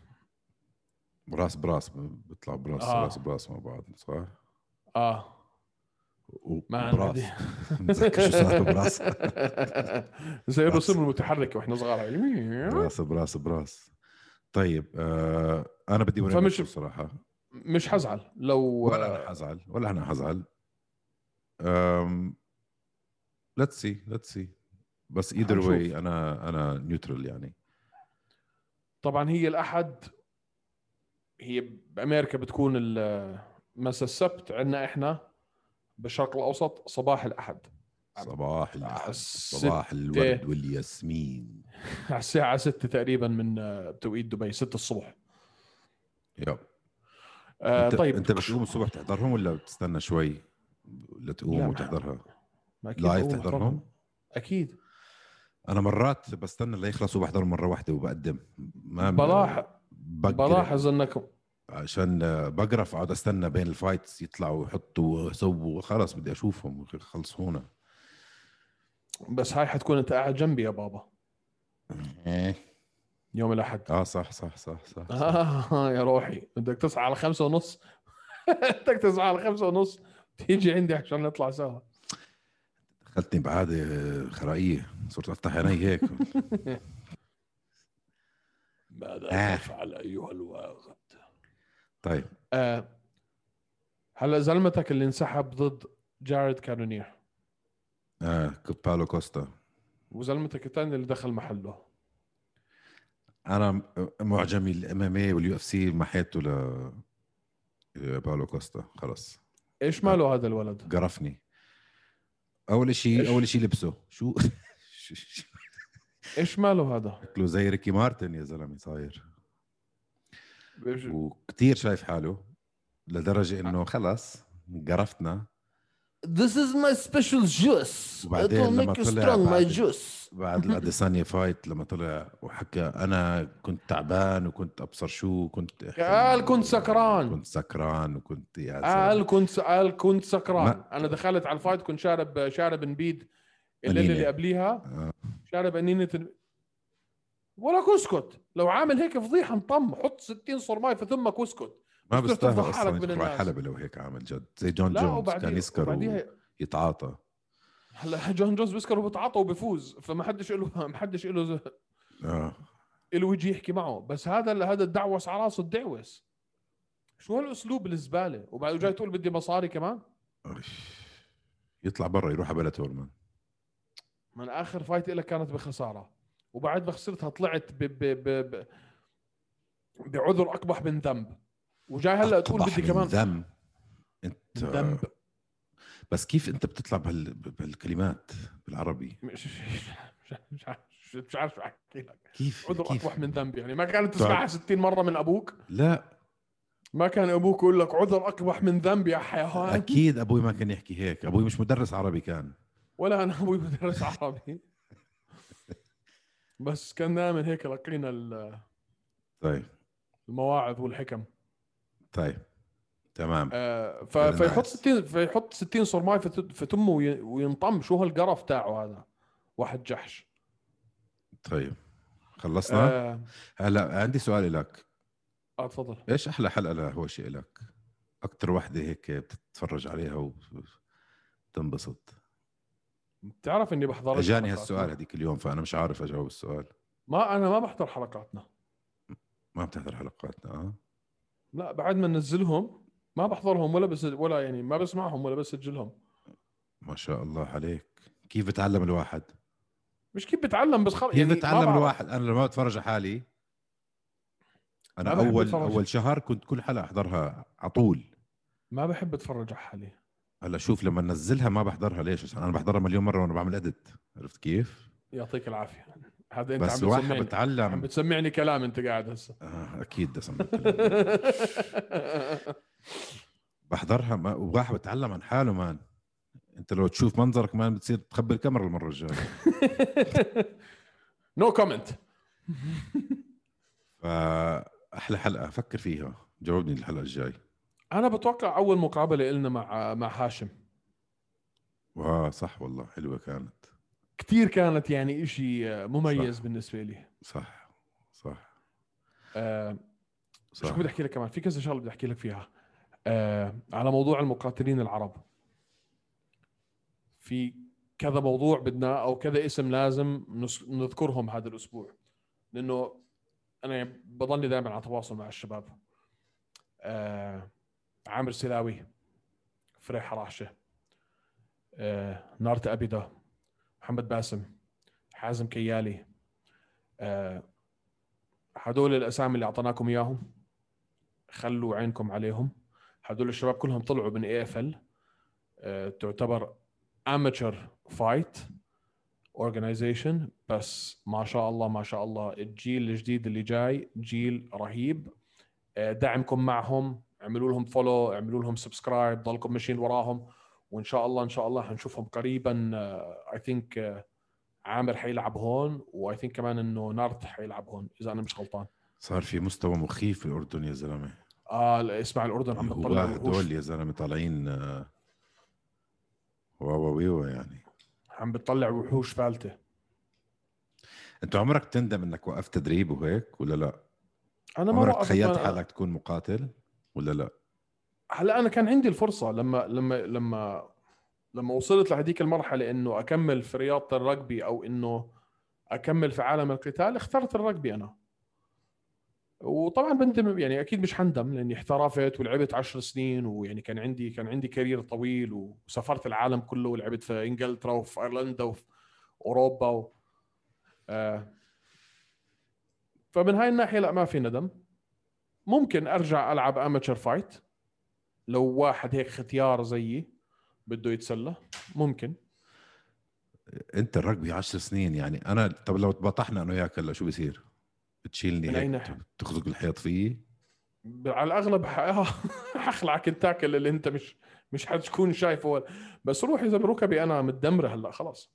S2: راس براس بيطلعوا براس
S1: آه.
S2: آه. راس براس مع بعض صح
S1: آه ما
S2: وبراس متذكر شو صار براس
S1: زي
S2: براس.
S1: الرسوم المتحركة وإحنا صغار يعني
S2: براس براس براس طيب آه انا بدي وريني
S1: فمش-
S2: بصراحه
S1: مش حزعل لو
S2: ولا انا حزعل ولا انا حزعل أم... ليتس سي ليتس سي بس ايذر
S1: حنشوف.
S2: واي انا انا نيوترال يعني
S1: طبعا هي الأحد هي بأمريكا بتكون ال- مسا السبت عندنا إحنا بالشرق الأوسط صباح الأحد
S2: صباح الأحد،
S1: الست-
S2: صباح الورد والياسمين
S1: على الساعة 6 تقريبا من آه، توقيت دبي 6 الصبح
S2: يب
S1: آه
S2: أنت-
S1: طيب
S2: انت بتقوم الصبح تحضرهم ولا بتستنى شوي
S1: لا،
S2: لتقوم وتحضرها
S1: ما أكيد
S2: لايف
S1: بقوم أحضرهم.
S2: تحضرهم
S1: أكيد
S2: انا مرات بستنى ليخلصوا بحضر مره واحده وبقدم ما
S1: بلاح
S2: بقدر.
S1: بلاحظ انك
S2: عشان بقرا فاقعد استنى بين الفايتس يطلعوا ويحطوا ويسووا خلاص بدي اشوفهم خلصونا
S1: بس هاي حتكون انت قاعد جنبي يا بابا يوم الاحد
S2: اه صح صح صح صح, صح.
S1: آه يا روحي بدك تصحى على خمسة ونص بدك تصحى على خمسة ونص تيجي عندي عشان نطلع سوا
S2: دخلتني بعاده خرائيه صرت افتح عيني هيك
S1: ماذا
S2: آه.
S1: تفعل ايها الواغد
S2: طيب
S1: آه هلا زلمتك اللي انسحب ضد جارد كانونير
S2: آه بالو كوستا
S1: وزلمتك الثاني اللي دخل محله
S2: انا م- معجمي الام ام اي واليو اف سي محيته ل آه، بالو كوستا خلص
S1: ايش
S2: آه.
S1: ماله هذا الولد؟
S2: قرفني اول
S1: إيش؟
S2: شيء اول شيء لبسه شو شكله
S1: ايش ماله هذا؟
S2: زي ريكي مارتن يا زلمه صاير
S1: إيش-
S2: وكتير شايف حاله لدرجة
S1: آه.
S2: انه خلص قرفتنا
S3: This is my special juice.
S2: وبعدين
S3: It'll
S2: لما
S3: make you
S2: طلع
S3: strong, my
S2: بعد-
S3: juice.
S2: بعد الاديسانيا فايت لما طلع وحكى انا كنت تعبان وكنت ابصر شو كنت
S1: قال كنت سكران.
S2: كنت سكران وكنت يا
S1: قال
S2: زلمة.
S1: كنت قال كنت سكران
S2: ما-
S1: انا دخلت على الفايت كنت شارب شارب نبيد الليله
S2: أنينة.
S1: اللي قبليها
S2: آه.
S1: شارب انينه ال- ولا اسكت لو عامل هيك فضيحه انطم حط 60 صور ماي فثمك اسكت
S2: ما
S1: بس بدك
S2: بيستاهل
S1: تفضح حالك
S2: اصلا
S1: من
S2: يدخل على
S1: الناس.
S2: حلبة لو هيك عامل جد زي جون
S1: لا
S2: جونز كان
S1: وبعدين
S2: يسكر ويتعاطى
S1: هلا جون جونز بيسكر وبتعاطى وبفوز فما حدش له ما حدش له
S2: آه.
S1: له يجي يحكي معه بس هذا هذا الدعوس على راسه الدعوس شو هالاسلوب الزباله وبعد جاي تقول بدي مصاري كمان
S2: أوش. يطلع برا يروح على بلاتور مان
S1: من اخر فايت لك كانت بخساره وبعد ما خسرتها طلعت ب ب ب ب بعذر اقبح من ذنب وجاي هلا تقول
S2: أقبح
S1: بدي
S2: من
S1: كمان
S2: ذنب انت
S1: ذنب
S2: بس كيف انت بتطلع بهال... بهالكلمات بالعربي
S1: مش مش- مش عارف مش عارف شو احكي لك
S2: كيف
S1: عذر
S2: كيف؟ طيب.
S1: اقبح من ذنب يعني ما كانت تسمعها 60 مره من ابوك
S2: لا
S1: ما كان ابوك يقول لك عذر اقبح من ذنب يا حيوان
S2: اكيد ابوي ما كان يحكي هيك ابوي مش مدرس عربي كان
S1: ولا انا ابوي مدرس عربي بس كان دائما هيك لقينا ال-
S2: طيب
S1: المواعظ والحكم
S2: طيب تمام
S1: آه، ف-
S2: Very
S1: فيحط
S2: nice.
S1: 60 فيحط 60 صرماي في ت- في تمه وي- وينطم شو هالقرف تاعه هذا واحد جحش
S2: طيب خلصنا
S1: آه،
S2: هلا عندي سؤال لك
S1: اه تفضل
S2: ايش احلى حلقه لهوشي لك اكثر وحده هيك بتتفرج عليها وتنبسط
S1: بتعرف اني بحضر
S2: اجاني هالسؤال هذيك اليوم فانا مش عارف اجاوب السؤال
S1: ما انا ما بحضر حلقاتنا
S2: ما بتحضر حلقاتنا اه
S1: لا بعد ما ننزلهم ما بحضرهم ولا بس ولا يعني ما بسمعهم ولا بسجلهم
S2: ما شاء الله عليك كيف بتعلم الواحد
S1: مش كيف بتعلم بس خلص يعني
S2: كيف بتعلم الواحد انا لما بتفرج على حالي انا
S1: ما بحب
S2: اول
S1: أتفرج.
S2: اول شهر كنت كل حلقه احضرها على طول
S1: ما بحب اتفرج على حالي
S2: هلا شوف لما ننزلها ما بحضرها ليش عشان انا بحضرها مليون مره وانا بعمل اديت عرفت كيف
S1: يعطيك العافيه هذا انت
S2: بس
S1: عم
S2: الواحد
S1: بتسمعني عم
S2: بتعلم
S1: بتسمعني كلام انت قاعد هسه
S2: آه اكيد بس عم بتكلم. بحضرها ما وواحد بتعلم عن حاله مان انت لو تشوف منظرك مان بتصير تخبي الكاميرا المره الجايه
S1: نو كومنت
S2: فاحلى حلقه فكر فيها جاوبني الحلقه الجاي
S1: انا بتوقع اول مقابله لنا مع مع هاشم
S2: واه صح والله حلوه كانت
S1: كثير كانت يعني شيء مميز
S2: صح.
S1: بالنسبه لي
S2: صح صح
S1: آه،
S2: صح
S1: شو بدي احكي لك كمان في كذا شغله بدي احكي لك فيها آه، على موضوع المقاتلين العرب في كذا موضوع بدنا او كذا اسم لازم نس- نذكرهم هذا الاسبوع لانه انا يعني بضلني دائما على تواصل مع الشباب آه، عامر سلاوي فريح حراشه آه، نارت ابيدا محمد باسم حازم كيالي آه، هدول الاسامي اللي اعطيناكم اياهم خلوا عينكم عليهم هدول الشباب كلهم طلعوا من اي اف ال آه، تعتبر اماتشر فايت اورجنايزيشن بس ما شاء الله ما شاء الله الجيل الجديد اللي جاي جيل رهيب آه، دعمكم معهم اعملوا لهم فولو اعملوا لهم سبسكرايب ضلكم ماشيين وراهم وان شاء الله ان شاء الله حنشوفهم آه، قريبا اي ثينك عامر حيلعب هون واي ثينك كمان انه نارت حيلعب هون اذا انا مش غلطان
S2: صار في مستوى مخيف في الاردن يا زلمه
S1: اه لا، اسمع الاردن عم
S2: هو
S1: بتطلع وحوش
S2: هدول يا زلمه طالعين آه، واو واو يعني
S1: عم بتطلع وحوش فالته
S2: انت عمرك تندم انك وقفت تدريب وهيك ولا لا؟
S1: انا ما
S2: عمرك
S1: وقفت
S2: تخيلت
S1: ما-
S2: حالك تكون مقاتل ولا لا؟
S1: هلا انا كان عندي الفرصه لما لما لما لما وصلت لهذيك المرحله انه اكمل في رياضه الرجبي او انه اكمل في عالم القتال اخترت الرجبي انا وطبعا بندم يعني اكيد مش حندم لاني احترفت ولعبت عشر سنين ويعني كان عندي كان عندي كارير طويل وسافرت العالم كله ولعبت في انجلترا وفي ايرلندا وفي اوروبا و... آه فمن هاي الناحيه لا ما في ندم ممكن ارجع العب اماتشر فايت لو واحد هيك ختيار زيي بده يتسلى ممكن
S2: انت الركبي 10 سنين يعني انا طب لو تبطحنا انا وياك هلا شو بصير؟
S1: من
S2: بتشيلني
S1: أي
S2: هيك
S1: ناحية؟
S2: تخزق الحيط فيي؟
S1: ب- على الاغلب ح- آه، حخلعك التاكل اللي انت مش مش حتكون شايفه ولا بس روح يا زلمه ركبي انا متدمره هلا خلاص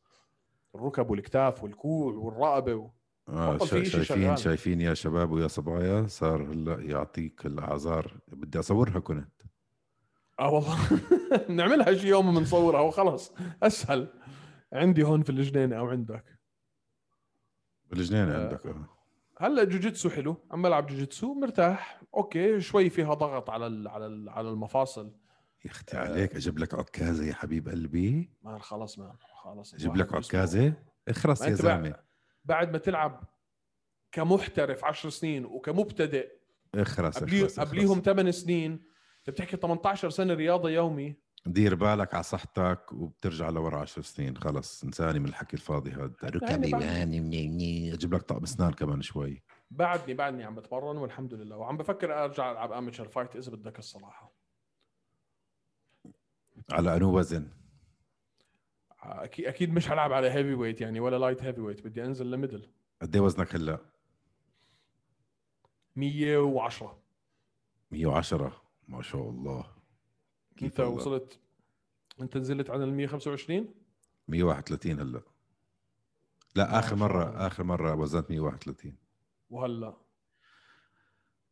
S1: الركب والاكتاف والكوع والرقبه و...
S2: اه
S1: بطل
S2: شا-
S1: في إشي
S2: شايفين
S1: شغال.
S2: شايفين يا شباب ويا صبايا صار هلا يعطيك الاعذار بدي اصورها كنت
S1: اه والله بنعملها شي يوم بنصورها وخلاص اسهل عندي هون في الجنينه او عندك
S2: بالجنان
S1: آه.
S2: عندك اه
S1: هلا جوجيتسو حلو عم بلعب جوجيتسو مرتاح اوكي شوي فيها ضغط على ال... على ال... على المفاصل
S2: يا اختي عليك اجيب لك عكازه يا حبيب قلبي
S1: ما خلاص ما خلاص
S2: اجيب
S1: الواحد
S2: لك
S1: جسمه-
S2: عكازه اخرس
S1: ما
S2: يا
S1: أنت بقى-
S2: زلمه
S1: بعد ما تلعب كمحترف 10 سنين وكمبتدئ
S2: اخرس
S1: قبلي-
S2: اخرس
S1: قبليهم
S2: اخرس
S1: 8 سنين انت بتحكي 18 سنه رياضه يومي
S2: دير بالك على صحتك وبترجع لورا 10 سنين خلص انساني من الحكي الفاضي هذا ركبي
S1: يعني بعد-
S2: وهاني مني- مني. اجيب لك طقم اسنان كمان شوي
S1: بعدني بعدني عم بتمرن والحمد لله وعم بفكر ارجع العب امتشر فايت اذا بدك الصراحه
S2: على انو وزن
S1: اكيد اكيد مش هلعب على هيفي ويت يعني ولا لايت هيفي ويت بدي انزل لميدل
S2: قد ايه وزنك هلا
S1: 110
S2: 110 ما شاء الله كيف
S1: انت
S2: والله؟
S1: وصلت انت نزلت عن ال 125
S2: 131 هلا لا اخر
S1: ما شاء
S2: مره
S1: الله.
S2: اخر مره وزنت 131
S1: وهلا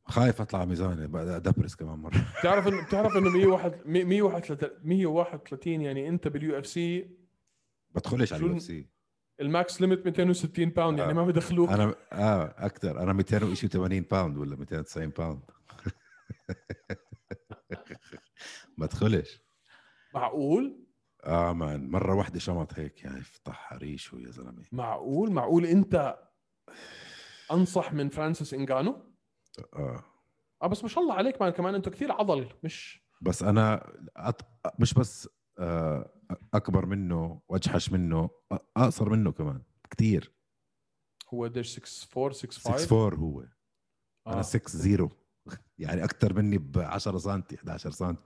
S2: خايف اطلع ميزاني بقى ادبرس كمان مره
S1: بتعرف انه بتعرف انه 131 131 يعني انت باليو اف سي
S2: بدخلش على
S1: شو
S2: اليو
S1: الم-
S2: اف سي
S1: الماكس ليميت 260 باوند يعني
S2: آه.
S1: ما بدخلوك
S2: انا اه اكثر انا 280 باوند ولا 290 باوند ما ادخلش
S1: معقول
S2: اه مان مره واحده شمط هيك يعني افتح ريشه يا زلمه
S1: معقول معقول انت انصح من فرانسيس انجانو
S2: اه
S1: اه بس ما شاء الله عليك مان كمان انت كثير عضل مش
S2: بس انا أط... مش بس آه اكبر منه واجحش منه أ- اقصر منه كمان كثير
S1: هو قديش 6 4 6
S2: 6
S1: 5
S2: 4 هو
S1: آه،
S2: انا 6 0 يعني اكثر مني ب 10 سم 11 سم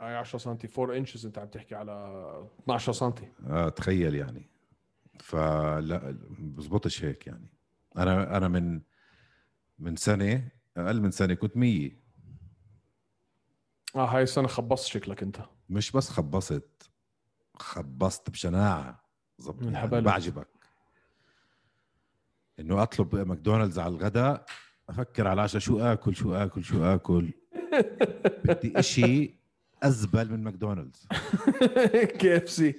S1: 10 سم 4 انشز انت عم تحكي على 12 سم
S2: اه تخيل يعني فلا بزبطش هيك يعني انا انا من من سنه اقل من سنه كنت 100
S1: اه هاي السنه خبصت شكلك انت
S2: مش بس خبصت خبصت بشناعه زبط
S1: من
S2: يعني
S1: هبل.
S2: بعجبك انه اطلب ماكدونالدز على الغداء افكر على العشاء شو اكل شو اكل شو اكل بدي اشي ازبل من ماكدونالدز
S1: كي اف سي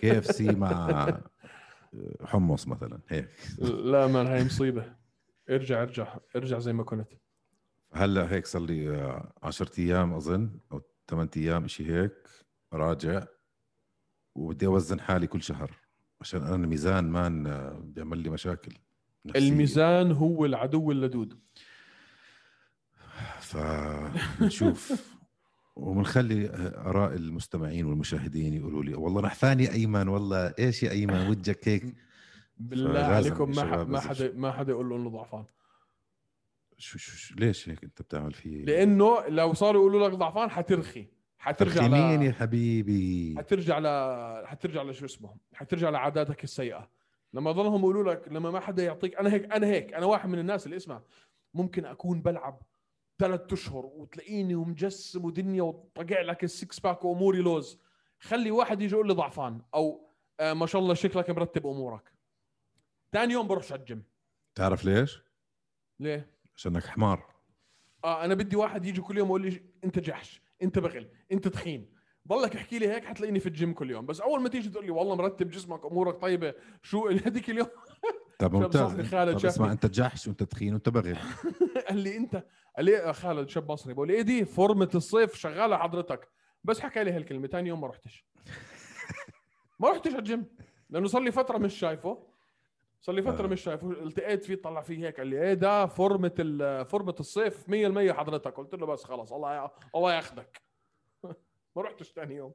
S2: كي اف سي مع آه، حمص مثلا هيك
S1: لا مان هاي مصيبه ارجع ارجع ارجع زي ما كنت
S2: هلا هيك صار لي آه، 10 ايام اظن او 8 ايام شيء هيك راجع وبدي اوزن حالي كل شهر عشان انا الميزان مان آه، بيعمل لي مشاكل نفسية.
S1: الميزان هو العدو اللدود
S2: فنشوف وبنخلي اراء المستمعين والمشاهدين يقولوا لي والله نحفان يا ايمن والله ايش يا ايمن وجهك هيك
S1: بالله
S2: فلازم
S1: عليكم ما ح-
S2: الشباب
S1: ما
S2: لازم-
S1: حدا ما حدا يقول له انه ضعفان
S2: شو شو شو ليش هيك انت بتعمل فيه
S1: لانه لو صاروا يقولوا لك ضعفان حترخي حترجع
S2: ترخي مين
S1: ل...
S2: يا حبيبي
S1: حترجع ل حترجع لشو اسمه حترجع لعاداتك السيئه لما ضلهم يقولوا لك لما ما حدا يعطيك انا هيك انا هيك انا واحد من الناس اللي اسمع ممكن اكون بلعب ثلاث اشهر وتلاقيني ومجسم ودنيا وطقع لك السكس باك واموري لوز خلي واحد يجي يقول لي ضعفان او آه ما شاء الله شكلك مرتب امورك ثاني يوم بروح على الجيم
S2: تعرف ليش؟
S1: ليه؟
S2: عشانك حمار
S1: اه انا بدي واحد يجي كل يوم يقول لي انت جحش انت بغل انت تخين ضلك احكي لي هيك حتلاقيني في الجيم كل يوم بس اول ما تيجي تقول لي والله مرتب جسمك امورك طيبه شو هذيك اليوم
S2: طب
S1: شاب
S2: ممتاز
S1: صاحبي خالد
S2: طب اسمع
S1: شافني.
S2: انت جحش وانت تخين وانت بغل
S1: قال لي انت قال لي آه، خالد شاب مصري بقول لي ايه دي فورمه الصيف شغاله حضرتك بس حكى لي هالكلمه ثاني يوم ما رحتش ما رحتش على الجيم لانه صار لي فتره مش شايفه صار لي فتره
S2: آه.
S1: مش شايفه التقيت فيه طلع فيه هيك قال لي ايه ده فورمه ال- فورمه الصيف 100% حضرتك قلت له بس خلاص الله يا... الله ياخذك ما رحتش ثاني يوم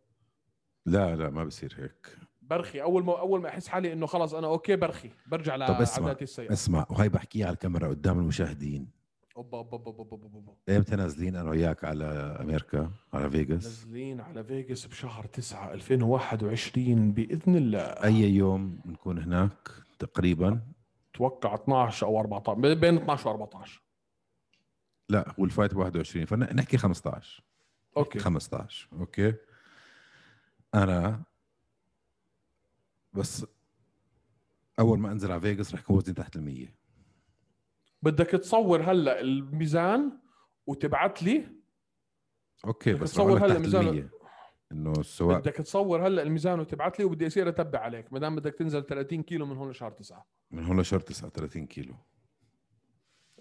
S2: لا لا ما بصير هيك
S1: برخي اول ما اول ما احس حالي انه خلاص انا اوكي برخي برجع
S2: طب اسمع.
S1: لعاداتي السيئه
S2: اسمع وهي بحكيها على الكاميرا قدام المشاهدين
S1: اوبا اوبا اوبا اوبا أوبا، أوبا
S2: امتى نازلين انا وياك على امريكا على فيغاس
S1: نازلين على فيغاس بشهر 9 2021 باذن الله
S2: اي يوم نكون هناك تقريبا
S1: اتوقع 12 او 14 بين- بين 12 و 14
S2: لا والفايت 21 فنحكي 15
S1: اوكي
S2: 15 اوكي انا بس اول ما انزل على فيغاس رح يكون وزني تحت ال 100
S1: بدك تصور هلا الميزان وتبعت لي
S2: اوكي
S1: بدك
S2: بس
S1: تصور
S2: بقول لك
S1: هلا
S2: تحت
S1: ميزانه.
S2: ال 100 انه السواق
S1: بدك تصور هلا الميزان وتبعت لي وبدي اصير اتبع عليك ما دام بدك تنزل 30 كيلو من هون لشهر 9
S2: من هون لشهر 39 كيلو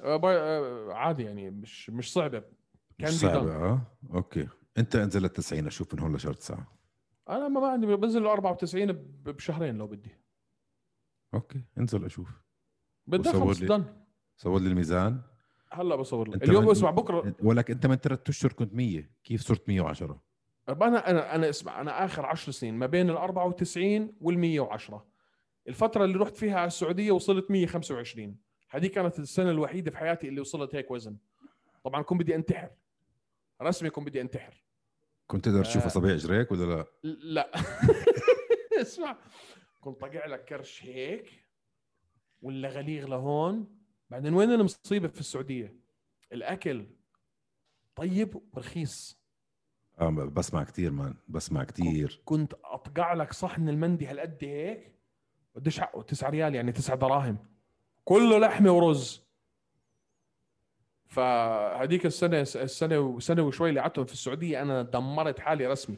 S1: أه، باي- أه، عادي يعني مش مش صعبه
S2: مش
S1: Can be
S2: صعبة،
S1: done.
S2: اه اوكي انت انزل لل 90 اشوف من هون لشهر 9
S1: انا ما ما عندي بنزل 94 ب- بشهرين لو بدي
S2: اوكي انزل اشوف
S1: بدي
S2: وصور
S1: خلص
S2: لي.
S1: دن
S2: صور لي الميزان
S1: هلا بصور لك
S2: أنت
S1: اليوم
S2: ما-
S1: اسمع بكره
S2: ولك انت من ثلاث اشهر كنت 100 كيف صرت 110
S1: طب انا انا انا اسمع انا اخر 10 سنين ما بين ال 94 وال 110 الفتره اللي رحت فيها على السعوديه وصلت 125 هذه كانت السنه الوحيده في حياتي اللي وصلت هيك وزن طبعا كنت بدي انتحر رسمي كنت بدي انتحر
S2: كنت تقدر تشوف
S1: آه.
S2: اصابع اجريك ولا لا
S1: ل- لا اسمع كنت طقع لك كرش هيك ولا غليغ لهون بعدين وين المصيبه في السعوديه الاكل طيب ورخيص
S2: آه بسمع كثير مان بسمع كثير
S1: كنت اطقع لك صحن المندي هالقد هيك بديش حقه 9 ريال يعني 9 دراهم كله لحمه ورز فهذيك السنه السنه وسنه وشوي اللي قعدتهم في السعوديه انا دمرت حالي رسمي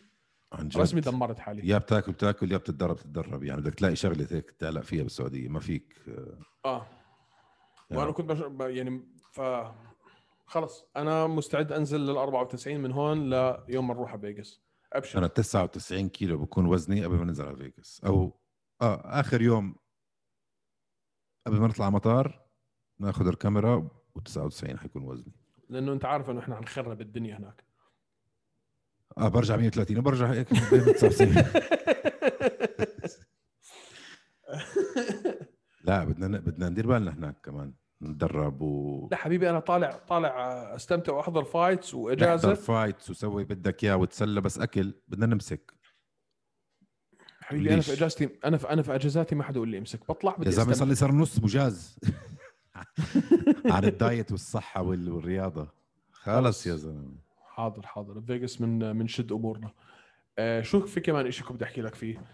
S2: عن جد
S1: رسمي دمرت حالي
S2: يا بتاكل بتاكل يا بتتدرب بتتدرب يعني بدك تلاقي شغله هيك تعلق فيها بالسعوديه ما فيك آه،
S1: اه وانا
S2: يعني
S1: كنت بش... ب- يعني ف خلص انا مستعد انزل لل 94 من هون ليوم ما نروح على فيجاس
S2: انا
S1: ابشر
S2: 99 كيلو بكون وزني قبل ما ننزل على فيغاس او اه اخر يوم قبل ما نطلع مطار ناخذ الكاميرا و99 حيكون وزني
S1: لانه انت عارف انه احنا حنخرب الدنيا هناك
S2: اه برجع 130 وبرجع هيك متصفصف. لا بدنا بدنا ندير بالنا هناك كمان نتدرب و
S1: لا حبيبي انا طالع طالع آه، استمتع واحضر فايتس
S2: نحضر
S1: واجازه
S2: فايتس وسوي بدك اياه وتسلى بس اكل بدنا نمسك
S1: حبيبي انا في
S2: ليش؟
S1: اجازتي انا في انا في اجازاتي ما حدا يقول لي امسك بطلع بدي
S2: يا زلمه
S1: استمتع
S2: صار لي صار نص مجاز عن الدايت والصحه وال- والرياضه خلص يا زلمه
S1: حاضر حاضر فيجاس من من شد امورنا آه شو في كمان شيء كنت بدي احكي لك فيه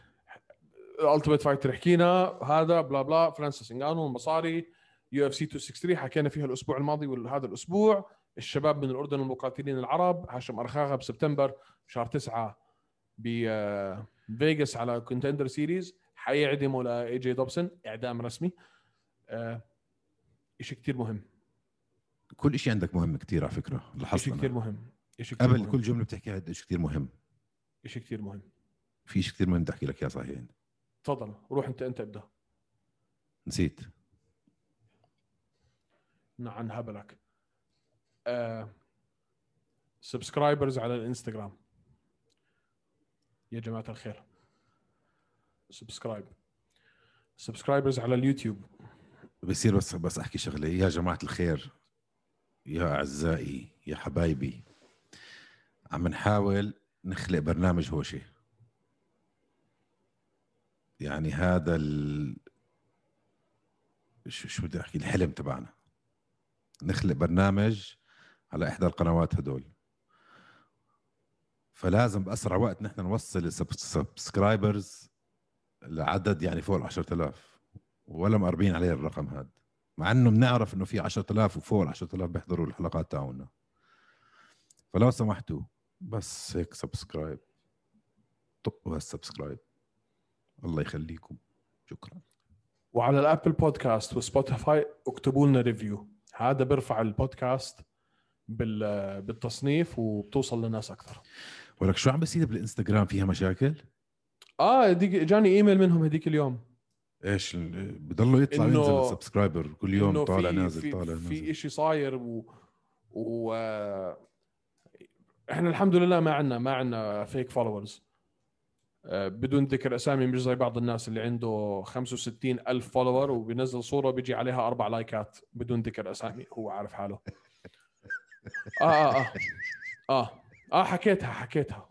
S1: التيميت فايتر حكينا هذا بلا بلا فرانسيس انغانو المصاري يو اف سي 263 حكينا فيها الاسبوع الماضي وهذا الاسبوع الشباب من الاردن المقاتلين العرب هاشم ارخاغه بسبتمبر بشهر 9 بفيجاس آه، على كونتندر سيريز حيعدموا لاي جي دوبسون اعدام رسمي آه شيء كثير مهم
S2: كل شيء عندك مهم كتير على فكره
S1: شيء
S2: لاحظت
S1: كثير
S2: أنا.
S1: مهم شيء كثير
S2: قبل كل
S1: مهم
S2: جمله بتحكيها عندك شيء كثير مهم
S1: شيء كثير مهم
S2: في شيء كثير مهم بدي احكي لك اياه صحيح
S1: تفضل روح انت انت ابدا
S2: نسيت
S1: نعم، عن هبلك آه سبسكرايبرز على الانستغرام يا جماعه الخير سبسكرايب سبسكرايبرز على اليوتيوب
S2: بصير بس بس احكي شغله يا جماعه الخير يا اعزائي يا حبايبي عم نحاول نخلق برنامج هوشه يعني هذا ال شو شو بدي احكي الحلم تبعنا نخلق برنامج على احدى القنوات هدول فلازم باسرع وقت نحن نوصل السبسكرايبرز لعدد يعني فوق ال 10000 ولا مقربين عليه الرقم هذا مع انه بنعرف انه في 10000 وفوق ال 10000 بيحضروا الحلقات تاعونا فلو سمحتوا بس هيك سبسكرايب طقوا هالسبسكرايب الله يخليكم شكرا
S1: وعلى الابل بودكاست وسبوتيفاي اكتبوا لنا ريفيو هذا بيرفع البودكاست بال بالتصنيف وبتوصل لناس اكثر
S2: ولك شو عم بيصير بالانستغرام فيها مشاكل؟
S1: اه هديك جاني ايميل منهم هديك اليوم
S2: ايش ال- بضلوا يطلع
S1: إنه-
S2: ينزل السبسكرايبر كل يوم
S1: إنه
S2: طالع
S1: في-
S2: نازل
S1: في
S2: طالع
S1: في
S2: نازل
S1: شيء صاير و, و آه، احنا الحمد لله ما عندنا ما عندنا فيك فولورز بدون ذكر اسامي مش زي بعض الناس اللي عنده 65 الف فولور وبينزل صوره بيجي عليها اربع لايكات بدون ذكر اسامي هو عارف حاله اه اه اه اه, آه حكيتها حكيتها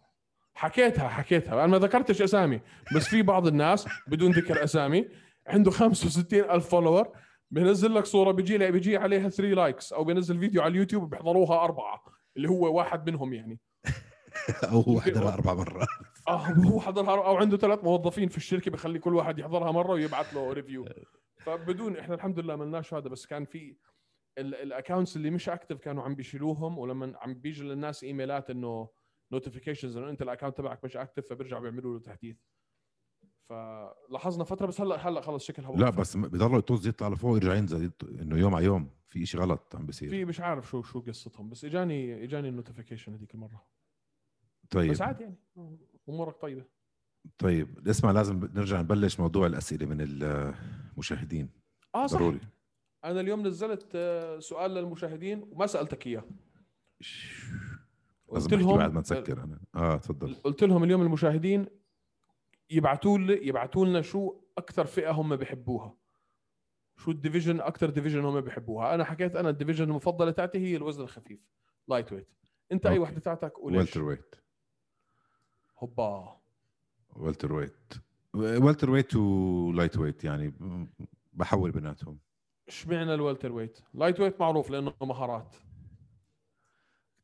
S1: حكيتها حكيتها انا ما ذكرتش اسامي بس في بعض الناس بدون ذكر اسامي عنده 65 الف فولور بنزل لك صوره بيجي لها بيجي عليها 3 لايكس او بنزل فيديو على اليوتيوب بيحضروها اربعه اللي هو واحد منهم يعني
S2: او هو حضرها اربع مرات
S1: اه هو حضرها او عنده ثلاث موظفين في الشركه بخلي كل واحد يحضرها مره ويبعث له ريفيو فبدون احنا الحمد لله ما لناش هذا بس كان في الاكونتس اللي مش اكتف كانوا عم بيشيلوهم ولما عم بيجي للناس ايميلات انه نوتيفيكيشنز انه انت الاكونت تبعك مش اكتف فبيرجعوا بيعملوا له تحديث فلاحظنا فتره بس هلا هلا خلص شكلها
S2: لا
S1: وقف.
S2: بس م- بضلوا يطز يطلع لفوق يرجع ينزل يط- انه يوم على يوم في شيء غلط عم بيصير
S1: في مش عارف شو شو قصتهم بس اجاني اجاني النوتيفيكيشن هذيك المره
S2: طيب
S1: بس عادي يعني امورك طيبه
S2: طيب اسمع لازم نرجع نبلش موضوع الاسئله من المشاهدين
S1: اه صح
S2: ضروري
S1: انا اليوم نزلت آه، سؤال للمشاهدين وما سالتك اياه
S2: لازم احكي بعد ما نسكر انا اه تفضل
S1: آه، قلت لهم اليوم المشاهدين يبعتوا لي يبعتوا لنا شو اكثر فئه هم بحبوها شو الديفيجن اكثر ديفيجن هم بحبوها انا حكيت انا الديفيجن المفضله تاعتي هي الوزن الخفيف لايت ويت انت اي
S2: أوكي.
S1: وحده تاعتك وليش
S2: والتر ويت
S1: هوبا
S2: والتر ويت والتر ويت ولايت ويت يعني بحول بيناتهم
S1: اشمعنى الوالتر ويت لايت ويت معروف لانه مهارات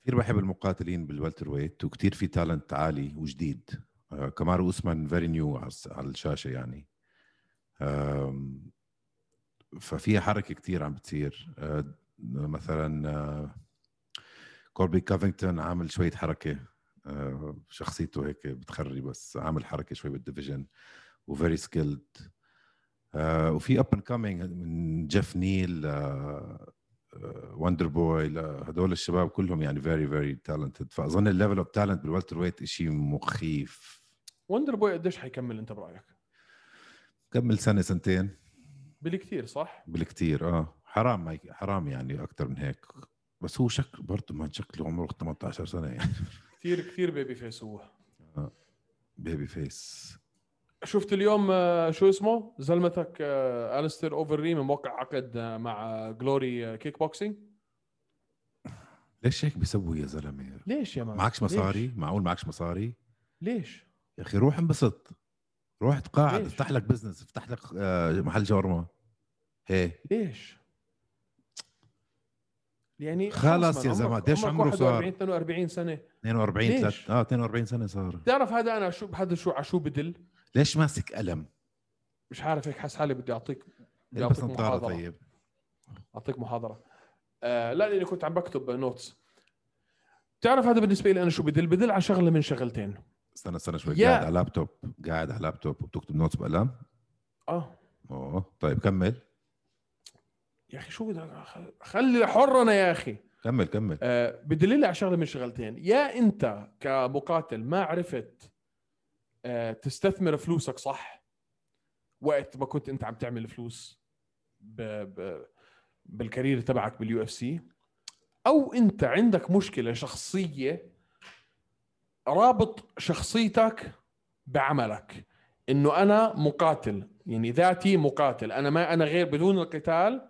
S2: كثير بحب المقاتلين بالوالتر ويت وكثير في تالنت عالي وجديد آه كمارو اوسمان فيري نيو على الس- على الشاشه يعني آم، ففي حركه كثير عم بتصير آه مثلا آه كوربي كافينغتون عامل شويه حركه آه شخصيته هيك بتخري بس عامل حركه شوي بالديفيجن وفيري سكيلد آه وفي اب اند كامينج من جيف نيل آه وندر بوي هدول الشباب كلهم يعني فيري فيري تالنتد فاظن الليفل اوف تالنت بالوالتر ويت شيء مخيف
S1: وندر بوي قديش حيكمل انت برايك
S2: كمل سنه سنتين
S1: بالكثير صح
S2: بالكتير اه حرام ما ي- حرام يعني اكثر من هيك بس هو شكل برضه ما شكله عمره 18 سنه يعني
S1: كثير كثير بيبي فيس هو
S2: بيبي فيس
S1: شفت اليوم آه، شو اسمه زلمتك آه، الستر اوفرريم موقع عقد آه، مع آه، جلوري كيك بوكسينج
S2: ليش هيك بيسووا يا زلمه
S1: ليش يا مان
S2: معكش مصاري
S1: ليش,
S2: معقول معكش مصاري
S1: ليش؟
S2: يا اخي روح انبسط روح تقاعد
S1: ليش؟
S2: افتح لك بزنس افتح لك آه، محل شاورما هي
S1: ليش؟ يعني
S2: خلص
S1: خلص
S2: يا
S1: مان،
S2: زلمة،
S1: عمرك-
S2: قديش
S1: عمرك
S2: عمره صار؟
S1: 41 42 سنه
S2: 42
S1: ليش؟
S2: ثلاث اه 42 سنه صار
S1: بتعرف هذا انا شو بحد شو عشو بدل
S2: ليش ماسك قلم؟
S1: مش عارف هيك حاسس حالي بدي اعطيك بدي
S2: البس
S1: اعطيك
S2: نظاره
S1: محاضره
S2: طيب
S1: اعطيك محاضره آه لا لاني كنت عم بكتب نوتس بتعرف هذا بالنسبه لي انا شو بدل بدل على شغله من شغلتين
S2: استنى استنى شوي
S1: يا-
S2: قاعد على لابتوب قاعد على لابتوب وبتكتب نوتس بقلم
S1: اه
S2: اوه طيب كمل
S1: يا اخي شو بدي خلي حرنا يا اخي
S2: كمل كمل
S1: آه بدليل على شغله من شغلتين يا انت كمقاتل ما عرفت آه تستثمر فلوسك صح وقت ما كنت انت عم تعمل فلوس ب... ب... بالكارير تبعك باليو اف سي او انت عندك مشكله شخصيه رابط شخصيتك بعملك انه انا مقاتل يعني ذاتي مقاتل انا ما انا غير بدون القتال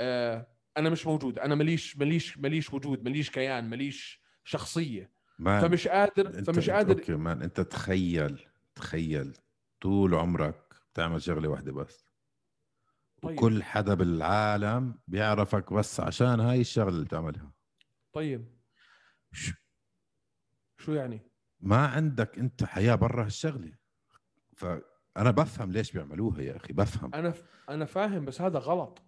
S1: آه انا مش موجود انا ماليش ماليش ماليش وجود ماليش كيان ماليش شخصيه
S2: مان
S1: فمش قادر
S2: آه. أنت-
S1: فمش
S2: أنت-
S1: قادر
S2: اوكي مان انت تخيل تخيل طول عمرك بتعمل شغله واحده بس
S1: طيب.
S2: كل حدا بالعالم بيعرفك بس عشان هاي الشغله اللي بتعملها
S1: طيب
S2: شو-
S1: شو يعني
S2: ما عندك انت حياه برا هالشغله فانا بفهم ليش بيعملوها يا اخي بفهم
S1: انا ف... انا فاهم بس هذا غلط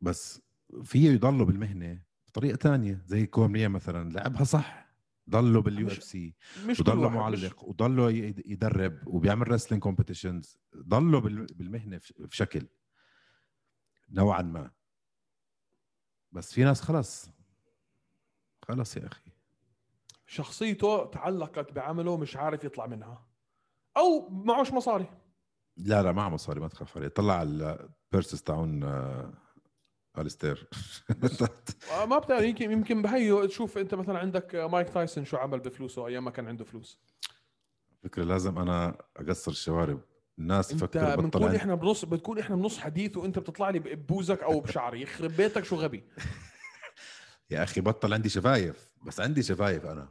S2: بس فيه يضلوا بالمهنه بطريقه تانية زي كومنيه مثلا لعبها صح ضلوا باليو
S1: مش-
S2: اف سي
S1: مش كل
S2: وضلوا
S1: واحد مش...
S2: معلق وضلوا ي- يدرب وبيعمل رسلينج كومبيتيشنز ضلوا بال- بالمهنه في في شكل نوعا ما بس في ناس خلص خلص يا اخي
S1: شخصيته تعلقت بعمله مش عارف يطلع منها او معوش مصاري
S2: لا لا معه مصاري ما تخاف عليه طلع على بيرسس تاون آه، الستير
S1: آه، ما بتعرف يمكن يمكن بهيو تشوف انت مثلا عندك آه، مايك تايسون شو عمل بفلوسه ايام ما كان عنده فلوس
S2: فكرة لازم انا اقصر الشوارب الناس
S1: انت
S2: تفكر بطل
S1: بنكون
S2: عندي-
S1: احنا بنص بتكون احنا بنص حديث وانت بتطلع لي ببوزك او بشعري يخرب بيتك شو غبي
S2: يا اخي بطل عندي شفايف بس عندي شفايف انا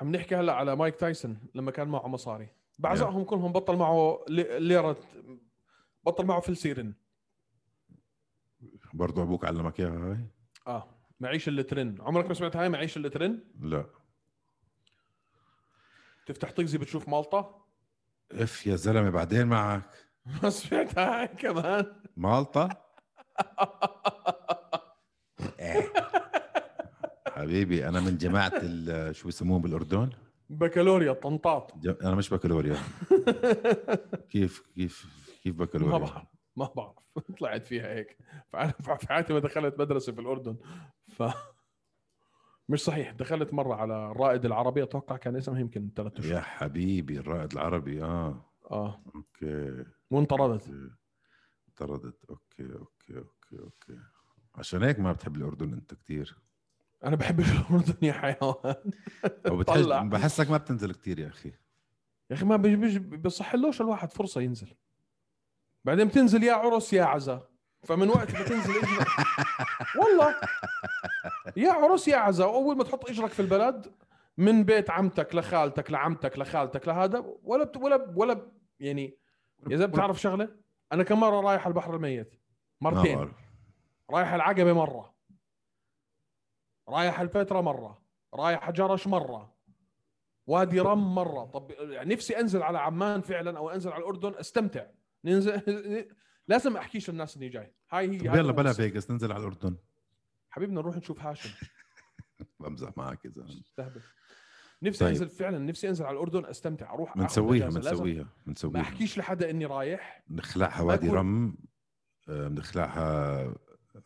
S1: عم نحكي هلا على مايك تايسون لما كان معه مصاري بعزقهم كلهم بطل معه لي- ليرة بطل معه فلسيرن
S2: برضو ابوك علمك اياها هاي
S1: اه معيش اللترن عمرك ما سمعت هاي معيش اللترن
S2: لا
S1: تفتح تغزي بتشوف مالطا
S2: اف يا زلمه بعدين معك
S1: ما سمعت هاي كمان
S2: مالطا إيه. حبيبي انا من جماعه ال- شو يسموهم بالاردن
S1: بكالوريا طنطاط
S2: ج- انا مش بكالوريا كيف كيف كيف
S1: ما
S2: بكالوريا
S1: بعرف ما بعرف طلعت فيها هيك فانا في حياتي ما دخلت مدرسه في الاردن ف مش صحيح دخلت مره على الرائد العربي اتوقع كان اسمه يمكن ثلاث
S2: يا
S1: اشهر
S2: حبيبي الرائد العربي اه
S1: اه
S2: اوكي
S1: وانطردت
S2: طردت اوكي اوكي اوكي اوكي عشان هيك ما بتحب الاردن انت كتير
S1: انا بحبش الاردن يا حيوان
S2: او
S1: طلع.
S2: بتحس بحسك ما بتنزل كتير يا اخي
S1: يا اخي ما بيج- بيج- بيصحلوش الواحد فرصه ينزل بعدين بتنزل يا عرس يا عزا فمن وقت ما تنزل اجرك والله يا عرس يا عزا واول ما تحط اجرك في البلد من بيت عمتك لخالتك لعمتك لخالتك لهذا ولا بت ولا ب- ولا ب- يعني يا زلمه بتعرف شغله انا كم مره رايح على البحر الميت
S2: ما
S1: مرتين
S2: بعرف.
S1: رايح العقبه مره رايح البتراء مره رايح جرش مره وادي رم مره طب يعني نفسي انزل على عمان فعلا او انزل على الاردن استمتع ننزل لازم احكيش للناس اني جاي هاي هي
S2: طب
S1: هاي
S2: يلا بلا
S1: القصة.
S2: فيجاس ننزل على الاردن
S1: حبيبنا نروح نشوف هاشم
S2: بمزح معك يا زلمه
S1: استهبل نفسي
S2: طيب.
S1: انزل فعلا نفسي انزل على الاردن استمتع اروح آخذ
S2: بنسويها
S1: إجازة. لازم
S2: بنسويها
S1: ما
S2: بنسويها
S1: احكيش لحدا اني رايح
S2: نخلعها
S1: ما
S2: وادي
S1: يكون-
S2: رم آه، بنخلعها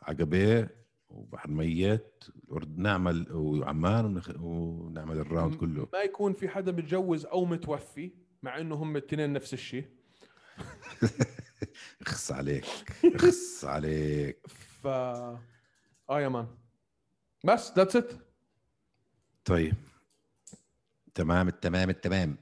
S2: عقبه وبحر ميت والأرد- نعمل وعمان ونخ... ونعمل الراوند
S1: م-
S2: كله
S1: ما يكون في حدا متجوز او متوفي مع انه هم الاثنين نفس الشيء
S2: اخس عليك اخس عليك
S1: ف آه اه يا مان بس ذاتس ات
S2: طيب تمام التمام التمام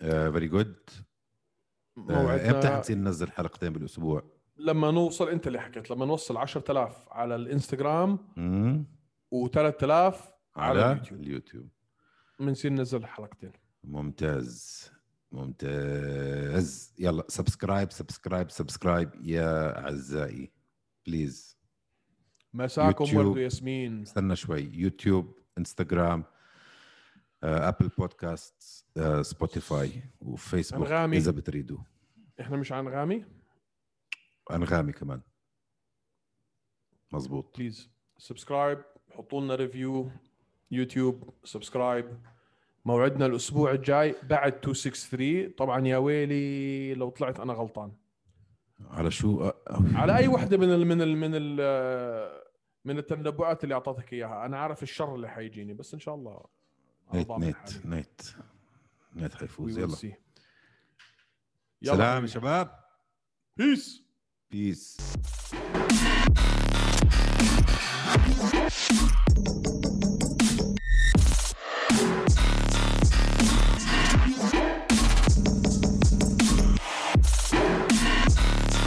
S2: آه، فيري جود آه، امتى
S1: موعدنا
S2: حتصير ننزل حلقتين بالاسبوع؟
S1: لما نوصل انت اللي حكيت لما نوصل 10000 على الانستغرام
S2: مم؟
S1: و3000 على
S2: على
S1: اليوتيوب.
S2: اليوتيوب
S1: بنصير ننزل حلقتين
S2: ممتاز ممتاز يلا سبسكرايب سبسكرايب سبسكرايب يا اعزائي بليز
S1: مساكم
S2: يوتيوب.
S1: ورد وياسمين
S2: استنى شوي يوتيوب انستغرام آه، ابل بودكاست آه، سبوتيفاي وفيسبوك
S1: أنغامي.
S2: اذا بتريدوا
S1: احنا مش عن غامي
S2: انغامي كمان مزبوط
S1: بليز سبسكرايب حطوا لنا ريفيو يوتيوب سبسكرايب موعدنا الاسبوع الجاي بعد 263 طبعا يا ويلي لو طلعت انا غلطان
S2: على شو آه،
S1: على اي وحده من ال من ال من ال من التنبؤات اللي اعطتك اياها انا عارف الشر اللي حيجيني بس ان شاء الله أنا
S2: نيت
S1: ضامن
S2: نيت
S1: حالي.
S2: نيت نيت حيفوز
S1: We will
S2: يلا
S1: see. يلا
S2: سلام يا شباب
S1: بيس
S2: بيس